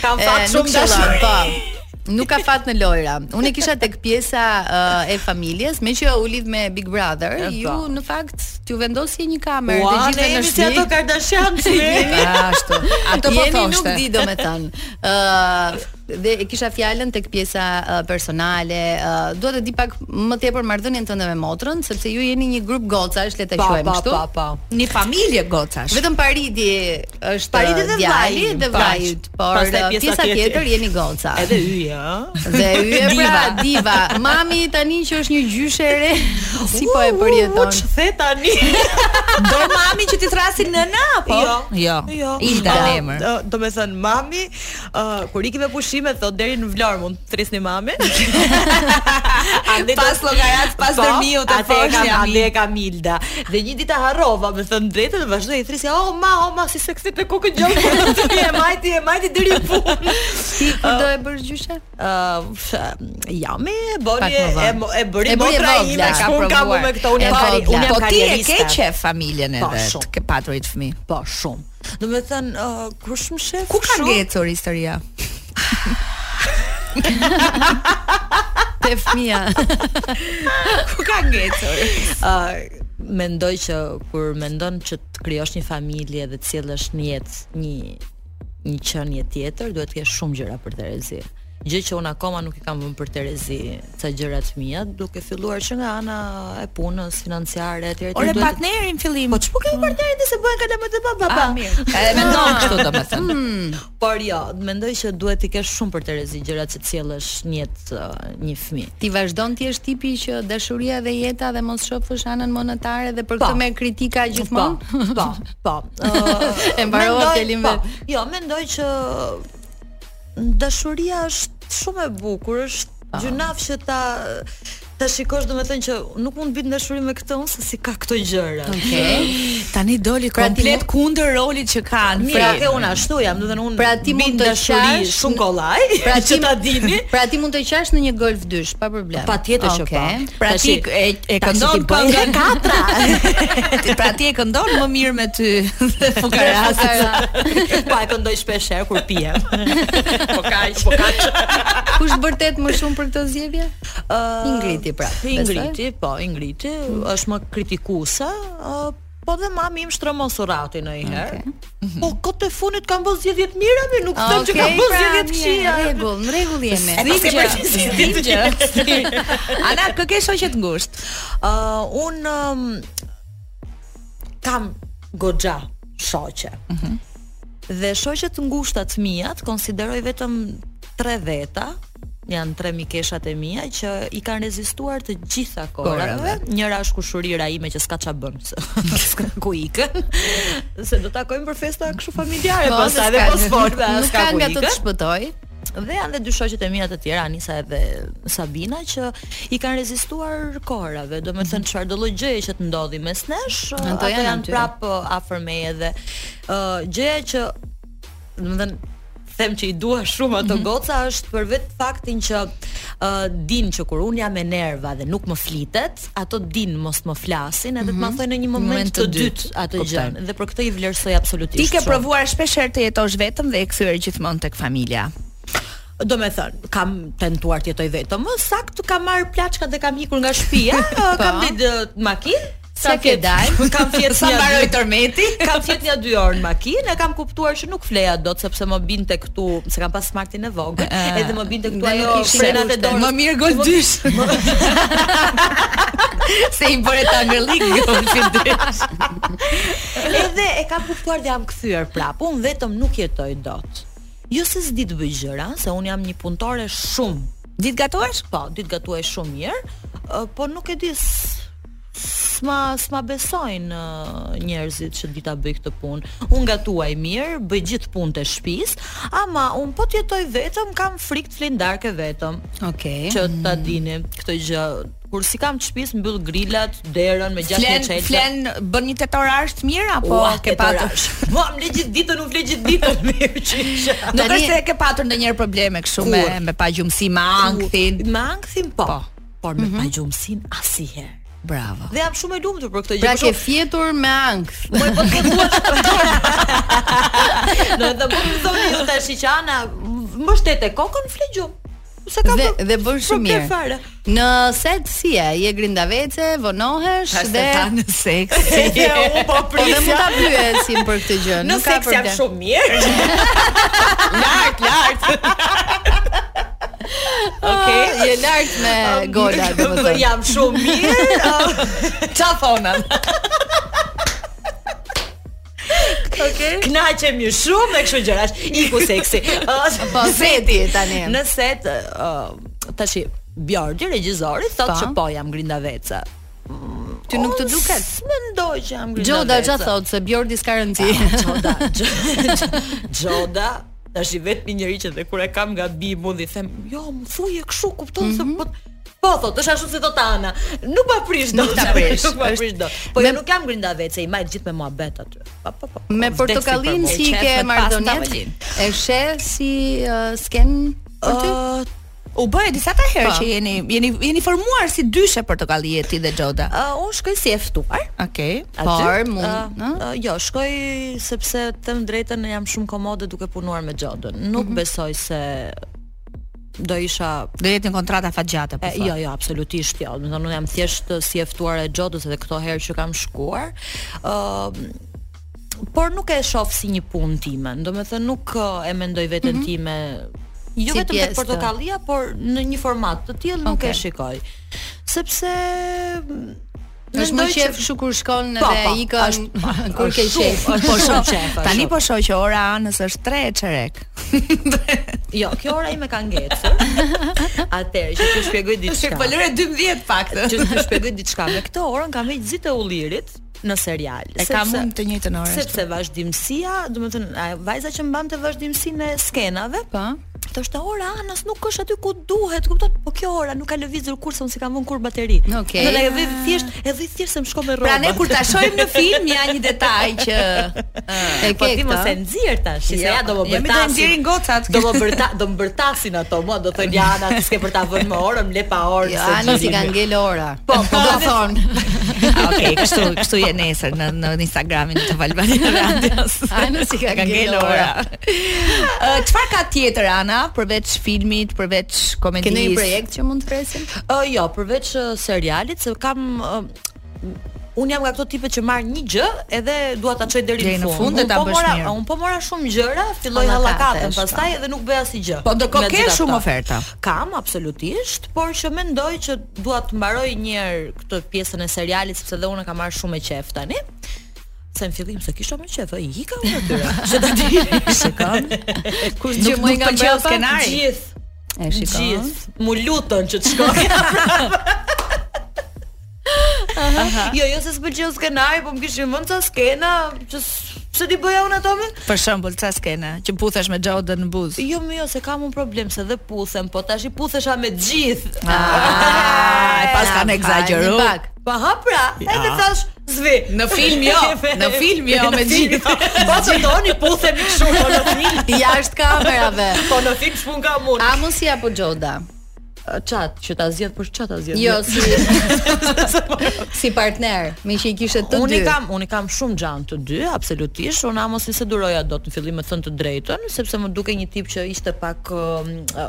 Kam E, fat nuk shumë qëllon, dashuri. Po. Nuk ka fat në lojra. Unë e kisha tek pjesa ë, e familjes, me që u lidh me Big Brother, E, po. ju në fakt t'ju vendosje një kamerë Ua, të ne gjithëve në Po, jemi si ato shtëpi. Kardashian [LAUGHS] si Ashtu. Ato po Jeni nuk thoshte. di domethën. Ë dhe e kisha fjalën tek pjesa ë, personale. Ë dua të di pak më tepër marrëdhënien tënde me motrën, sepse ju jeni një grup gocash, le ta Pa, quajmë pa, kështu. pa, pa. Një familje gocash. Vetëm Paridi është Paridi dhe djali vllai, dhe po. vllai, por Pastaj ë, pjesa pjesa tjetër. tjetër jeni goca. Edhe yje, ë. Dhe yje pra diva. Mami tani që është një gjyshe e re, si po e U, përjeton? Ç'the [LAUGHS] tani? Do mami që ti thrasin nëna po? apo? Jo. Jo. Jo. Ilda Ë, në emër. ë, Do me thënë mami, ë, kur i kime pushime thot deri në Vlorë mund të trisni [LAUGHS] [LAUGHS] mami. Ande do- Pas llogarat, pas Po, dërmiu të atë e thosh kam, jam. atë e kam Ilda. Dhe një ditë e harrova, me thënë drejtën, dhe vazhdoi i thrisja, "Oh ma, oh ma, si se kthet e kokën gjallë." [LAUGHS] E majti, e majti deri në [LAUGHS] punë. Ti kur do e bësh gjyshe? Ë, f- jam e bëri Pak më vonë. e, mo- e bëri E bëri e motra vogla. ime, Ka ka provuar. Kam provuar. unë me këto unë E jam vogla. kari- unë jam Po ti e karrieriste. ke qef familjen Po, edhe shumë. të ke paturit fëmijë. Po, shumë. Do me thënë, uh, kur shumë shef, Ku ka shumë- ngecur historia? [LAUGHS] Te fëmia. Ku ka ngecur? Ë, mendoj që kur mendon që të krijosh një familje dhe të sjellësh në jetë një një qenie tjetër, duhet të kesh shumë gjëra për të rezi. gjë që unë akoma nuk i kam vënë për Terezi ca gjëra të mia, duke filluar që nga ana e punës financiare etj etj. Ore partneri në fillim. Po ç'po kemi partnerin dhe se bëhen kalamet e baba. Ah, mirë. Edhe mendon kështu domethënë. Mm. Por jo, mendoj që duhet i kesh shumë për Terezi gjërat që sjellësh në jetë uh, një fëmijë. Ti vazhdon ti është tipi që dashuria dhe jeta dhe mos shofësh anën monetare dhe për Po. këtë merr kritika gjithmonë? Po, po. [LAUGHS] Ë, E mbarova mendoj- fjalim po. vet. Jo, mendoj që dashuria është shumë e bukur, është gjynaf që ta ta shikosh domethënë që nuk mund të bëj dashuri me këtë unë se si ka këto gjëra. Tani doli Pra ti mu- komplet kundër rolit që kanë. Pra dhe unë ashtu jam, do të thënë unë Pra ti bëj mund të dashuri qash- shumë kollaj, pra [LAUGHS] që ta dini. Pra ti mund të qash në një golf dysh, pa problem. Patjetër që po. Okej. Pra Tash ti i- e, e tash i këndon ti bëj. këngën [LAUGHS] katra. pra ti e këndon më mirë me [LAUGHS] ty dhe fukara. Pa Po, e këndoj shpesh herë kur pijem. [LAUGHS] po kaq, po kaq. Kush bërtet më shumë për këtë zgjedhje? Ë, Ingriti, pra, Mm. Ingriti, po, Ingriti është më kritikuese, ë, po dhe mami im shtrëmon surati ndonjëherë. Po kot e funit kanë bërë zgjedhje të mira, mi nuk them që Okej, kanë bërë pra, zgjedhje të mirë, po, këqija. Në rregull, në rregull jemi. Rinjë, rinjë. Ana, kë ke shoqe të ngushtë? Uh, un um, kam goxha shoqe. Mhm. Dhe shoqet të ngushta të mia, të konsideroj vetëm tre veta, janë tre mikeshat e mia që i kanë rezistuar të gjitha korave. Njëra është kushurira ime që s'ka ç'a bën, se [LAUGHS] s'ka ku ikën. se do takojmë për festa kështu familjare Po, se pastaj dhe s'ka- [LAUGHS] pas forme, Nuk s'ka ka ku nga të të ikën. shpëtoj. Dhe janë dhe dy shoqet e mia të tjera, Anisa edhe Sabina, që i kanë rezistuar kohërave, do me thënë çfarë do lloj gjëje që të ndodhi mes nesh, Mhm. Ato ato janë janë, aty. prapë afër meje dhe uh, gjëja që do me thënë them që i dua shumë Mhm. ato goca është për vetë faktin që uh, din që kur unë jam e nerva dhe nuk më flitet, ato din mos më flasin edhe të më thojnë në një moment, Mhm. Moment të të dytë. dytë atë gjën. Dhe për këtë i vlerësoj absolutisht. Ti ke shumë. provuar shpesh herë të jetosh vetëm dhe e kthyer gjithmonë tek familja. Do me thënë, kam tentuar të jetoj vetëm, ë, saktë kam marrë plaçka dhe kam ikur nga shtëpia, ë, kam ditë makinë, Sa ke dalë? [LAUGHS] Kam [LAUGHS] fjetë Sa mbaroi tërmeti? Kam fjetë një dy orë në makinë, e kam kuptuar që nuk fleja dot sepse më binte këtu, se kam pas smartin e vogël, edhe më binte këtu Dhe ajo nuk ishin frenat e dorës. Më mirë gol [LAUGHS] dysh. [LAUGHS] Se i bëre ta ngërllik gol si dysh. Edhe e kam kuptuar dhe jam kthyer prapë. Unë vetëm nuk jetoj dot. Jo se s'di të bëj gjëra, se unë jam një punëtore shumë Ditë gatuash? Po, ditë gatuaj shumë mirë, ë, po nuk e di s- s'ma s'ma besojnë ë, njerëzit që dita bëj këtë punë. Unë gatuaj mirë, bëj gjithë punët e shtëpisë, ama unë po të jetoj vetëm, kam frikë të flinë darkë vetëm, Okej. që ta Mm. dini këtë gjë. Kur si kam të shtëpisë, mbyll grilat, derën me gjatë Flen, çelësa. flen, bën një tetorash të mirë apo Ua, ke e patur? torash. Po, [LAUGHS] Mua më le gjithë ditën, unë fle gjithë ditën [LAUGHS] mirë që isha. Nuk Tani- është se ke patur ndonjëherë probleme kështu me Kur? me pagjumsi, me ankthin. Me ankthim po, por me Mhm. pagjumsin asnjëherë. Bravo. Dhe jam shumë e lumtur për këtë gjë. Pra për ke shemb- fjetur me ankth. [LAUGHS] Po e po të thua që [LAUGHS] Do të bëj të thonë ju tash që ana mbështet e kokën fle gjumë. Se ka Dhe bë- dhe bën shumë problem mirë. [LAUGHS] fare. [LAUGHS] Në set si e, je grindavece, vonohesh Tash dhe se ta në seks. Jo, u po Po dhe mund prisja. ta pyesim për këtë gjë, Në nuk ka seks jam problem. shumë mirë. Lart, lart. Okej. Ah, Ah, Je lart me [LAUGHS] gola, domethënë. Jam shumë mirë. [LAUGHS] Ça thonën? Okej. Knaqemi shumë me kështu gjërash. Iku [LAUGHS] seksi. Ë, Po seti tani. Në set uh, tash Bjardi regjizori thotë Po. që po jam grindavece. Ty nuk të Unë duket. Mendoj që jam grindavece. Ah, Gjoda ç'a thot se Bjordi s'ka rëndsi. Gjoda. Gjoda. [LAUGHS] Gjoda tash i vetmi njeri që dhe kur e kam gabim unë i them, "Jo, më thuje kështu, kupton Mhm. se po Po thot, është ashtu si thot Ana. Nuk pa prish dot. Nuk ta prish, [LAUGHS] Nuk pa është- prish dot. Po Me- jo nuk jam grindavece, i majt gjithë me muhabet aty. Pa pa pa. [LAUGHS] Me vdeksi portokallin për mua. si i qef ke me mardonjet pastavalin. E sheh si uh, sken për ty? Ë, U bëre disa ta herë Po. që jeni jeni jeni formuar si dyshe portokallie ti dhe Xhoda. ë, unë shkoj si e ftuar. Okej. Por, Aty? mund, Ë, ë? ë, jo, shkoj sepse të them drejtën jam shumë komode duke punuar me Xhodën. Nuk Mhm. besoj se do isha Do jetë një kontrata fatgjate po. E, jo, jo, absolutisht jo. Do të thonë unë jam thjesht uh, si e ftuar e Xhodës edhe këto herë që kam shkuar. ë por nuk e shoh si një punë time. Do të thënë nuk uh, e mendoj veten time jo Si vetëm tek pjesë të- portokallia, por në një format të tillë nuk Okej. e shikoj. Sepse Është më mendoj që- qef shu kur shkon Po, dhe po, ikën është- [LAUGHS] kur ke është [LAUGHS] qef. shumë, është po, [LAUGHS] shumë qef, është Tani shumë. po shoh që ora anës është 3 e çerek. Jo, kjo ora ime ka ngecur. Atëherë që t'ju shpjegoj diçka. lëre 12 paktën. Që t'ju shpjegoj diçka. Me këtë orën kam veç zitë e ullirit në serial. E kam unë të njëjtën orë. sepse vazhdimësia, domethënë ajo vajza që mbante vazhdimsinë e skenave, Po. thoshte ora Anas nuk është aty ku duhet, kupton? Po kjo ora nuk ka lëvizur kurse unë si kam vënë kur bateri. Okej. Dhe e vë thjesht, e vë thjesht se më shko me rroba. Pra ne kur ta shohim në film ja një detaj që E Po ke ti mos e këtë. nxjerr tash, se Jo, ja do më jemi do bërtasin. nxjerrin gocat. Do më bërta, do më bërtasin ato, mua do thonë ja Ana, ti s'ke për ta vënë më orën, le pa orën. Jo, se ani si gjeni ka mirë." ngel ora. Po, po, do ne- thon. Okej, kështu, kështu je nesër në në Instagramin të Valbani [LAUGHS] Radios. Ana si ka ngelë [LAUGHS] ora. Ë, Uh, Çfarë ka tjetër Ana përveç filmit, përveç komedisë? Ke ndonjë projekt që mund të presim? Ë jo, përveç uh, serialit se kam uh, un jam nga këto tipe që marr një gjë edhe dua ta çoj deri Deri në në fund. fund dhe Unë ta po bësh mora, mirë. un po mora shumë gjëra, filloj Hallakate hallakatën është, pastaj edhe nuk bëj asgjë. Po, ndërkohë Me ke gjitha shumë këto. oferta. Kam absolutisht, por që mendoj që dua të mbaroj një herë këtë pjesën e serialit sepse edhe unë e kam marr shumë e qef tani. Se në fillim se kisha më qef, e hika unë atyre. [LAUGHS] Se ta di. Shikon. Kur Nuk nuk pëlqeu skenari. Gjithë. E shikoj. Gjithë. Mu lutën që të shkoj. [LAUGHS] Jo, jo se s'pëlqeu skenari, po më kishin vënë ca skena që s- pse ti bëja unë ato me? Për shembull, ca skena që puthesh me Jordan në buzë. Jo, më jo, se kam un problem se dhe puthem, po tash i puthesha me gjithë. Ah, e pas kanë egzageru. Pa ha pra, edhe thash zvi. Në film [LAUGHS] jo, në film jo me gjithë. Po që doni puthemi kështu po në film. [LAUGHS] Jashtë kamerave. Po në film shpun ka unë. Amosi apo Xhoda? Çat, që ta zgjedh për çat ta zgjedh. [LAUGHS] Jo, si [LAUGHS] si partner, me që i kishe të unë dy. i kam, unë i kam shumë xhan të dy, absolutisht. Unë Amosin se duroja dot në fillim me të thënë të drejtën, sepse më dukej një tip që ishte pak ëm, ë,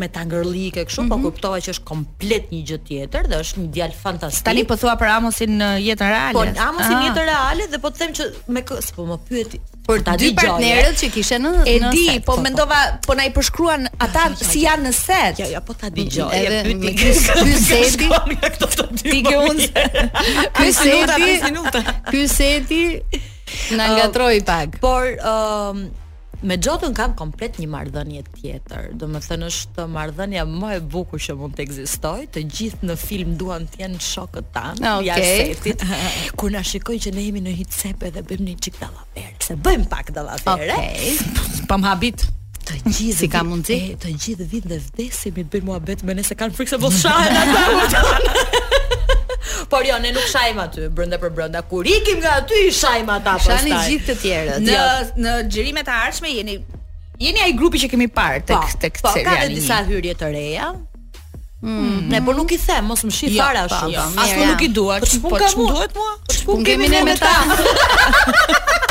me tangërlike kështu, po kuptova që është komplet një gjë tjetër dhe është një djalë fantastik. Tani po thua për Amosin në jetën reale. po Ah. Amosi në jetë reale dhe po të them që me kë, s'po më pyet për ta dy dëgjoje. partnerët që kishe në E në di, set, po mendova, po na i përshkruan ata [LAUGHS] si janë në set. Ja, ja, po ta dëgjoj. Edhe Ja, pyti. me ky ky seti, Shkon nga këto të dy. Ti ke unë ky Pesë minuta, seti, pesë minuta. ky seti na Oh. ngatroi pak. Por ëm me Xhotën kam komplet një marrëdhënie tjetër. Do të thënë është marrëdhënia më e bukur që mund të ekzistojë. Të gjithë në film duan të jenë shokët tanë Ah, okay. jashtë setit. [LAUGHS] Kur na shikojnë që ne jemi në hicep edhe bëjmë një çik dallafere, se bëjmë pak eh? dallafere. Okej. Po më habit. Të gjithë Si ka vin- mundsi? e, Të gjithë vinë dhe vdesim i bëjmë muhabet me ne se kanë frikë se mos shahen ata. [LAUGHS] kupton? Por jo, ne nuk shajmë aty brenda për brenda. Kur ikim nga aty i shajmë ata pastaj. Shani gjithë të tjerët. po, Jo, Në në xhirimet e ardhshme jeni jeni ai grupi që kemi parë tek tek po, ka seriali edhe një. disa hyrje të reja. Mm. Ne po nuk i them, mos më shi Jo, fare po, ashtu. po, mirë, As po nuk ja. i dua. Po ç'pun ka mua? duhet mua? Po ç'pun Unë kemi ne me [LAUGHS] ta.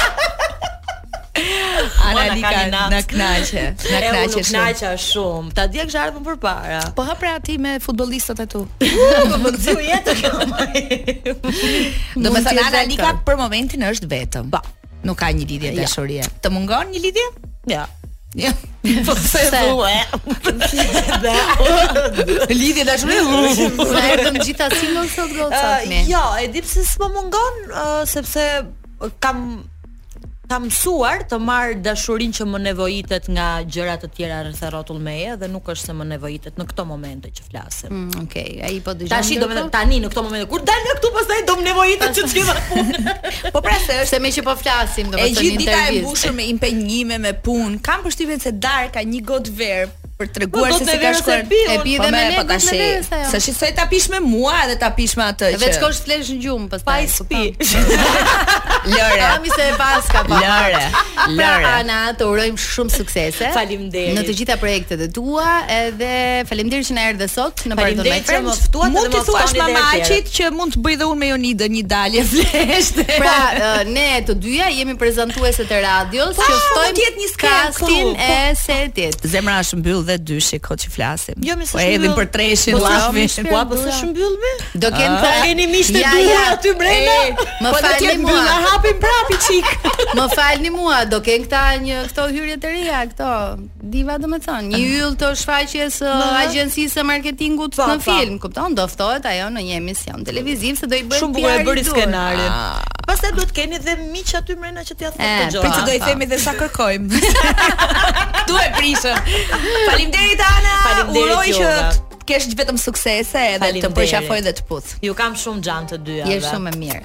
Analika Ana na knaqe, na E, unë knaqe nuk shumë. knaqa shumë. Ta dia kisha ardhur përpara. Po hapra aty me futbollistët e [LAUGHS] tu. Po më nxiu jetë kjo. Do të Mund thënë t'jetë Analika aktor. për momentin është vetëm. Po. Nuk ka një lidhje dashurie. Të mungon një lidhje? Ja. [LAUGHS] Jo. Po se Se. [LAUGHS] thua. lidhje [LAUGHS] dashurie? Sa erdhën gjitha single sot Ah, goca Ë, mi. Jo, e di pse s'më mungon, ë, sepse kam kam mësuar të marr dashurinë që më nevojitet nga gjëra të tjera rreth e rrotull meje dhe nuk është se më nevojitet në këto momente që flasim. Mm, Okej, ai po dëgjon. Tashi do të ndërkohë? thënë tani në këto momente kur dal nga këtu pastaj do më nevojitet që të gjitha [LAUGHS] punë. Po pra se është se me që po flasim E domethënë gjithë dita e intervistë. mbushur me impenjime, me punë. Kam përshtypjen se Dar ka një gotë verë për Po, treguar gotë se si e ka verës e shkuar. biu, e pi Po, dhe me me, ne, po gotë me tash. ne, se jo. Se shqetësoj ta pish me mua edhe ta pish me atë Vetë shkosh flesh në gjumë Pa pastaj. po i spi. kupton? Lore. Ami se e paska pa. Lore. Pra Lore. Ana, të urojmë shumë suksese. Faleminderit. Në të gjitha projektet e tua edhe faleminderit që na erdhe sot në Bardhë Me Faleminderit që më [LAUGHS] Friends. ftuat Mund dhe të më thuash ftoni dhe mama herë tjera. Aqit që mund të bëj dhe unë me Jonida një dalje flesh. Pra, ë, ne të dyja jemi prezantuese të radios që Pa, Po, mund ftojmë t'jetë një skenë këtu, castin po. e setit. Zemra është mbyllë dhe dyshi kohë që flasim. Jo, mi s'është po edhim mbyll. për treshin, Po s'është llafin. mbyll shpia, po s'është mbyll [LAUGHS] me? Do Ah. pra- kenë të keni miqtë të dur aty brenda? Më Po do falni t'jetë mua. mbyll, a hapim prapi çik. [LAUGHS] Më falni mua, do kenë këta një këto hyrje të reja, këto diva domethënë, një yll të shfaqjes së agjencisë së marketingut Po, në po. film, kupton? Do ftohet ajo në një emision televiziv se do i bëjnë Shumë bukur e PR bëri i dur. skenarin. Pastaj do të keni dhe miq aty mrena që t'ia thotë E, të Për gjëra. që do i themi dhe sa [LAUGHS] kërkojmë. Tu e prishëm. Faleminderit Ana. Faleminderit Uroj që juve. të kesh vetëm suksese edhe të Faleminderit. përqafoj dhe të puth. Ju kam shumë xhan të dyja. Je shumë e mirë.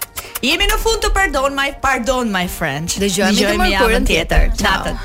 Jemi në fund të Pardon My Pardon My French. Dëgjojmë të mërkurën tjetër. Ciao. Natën.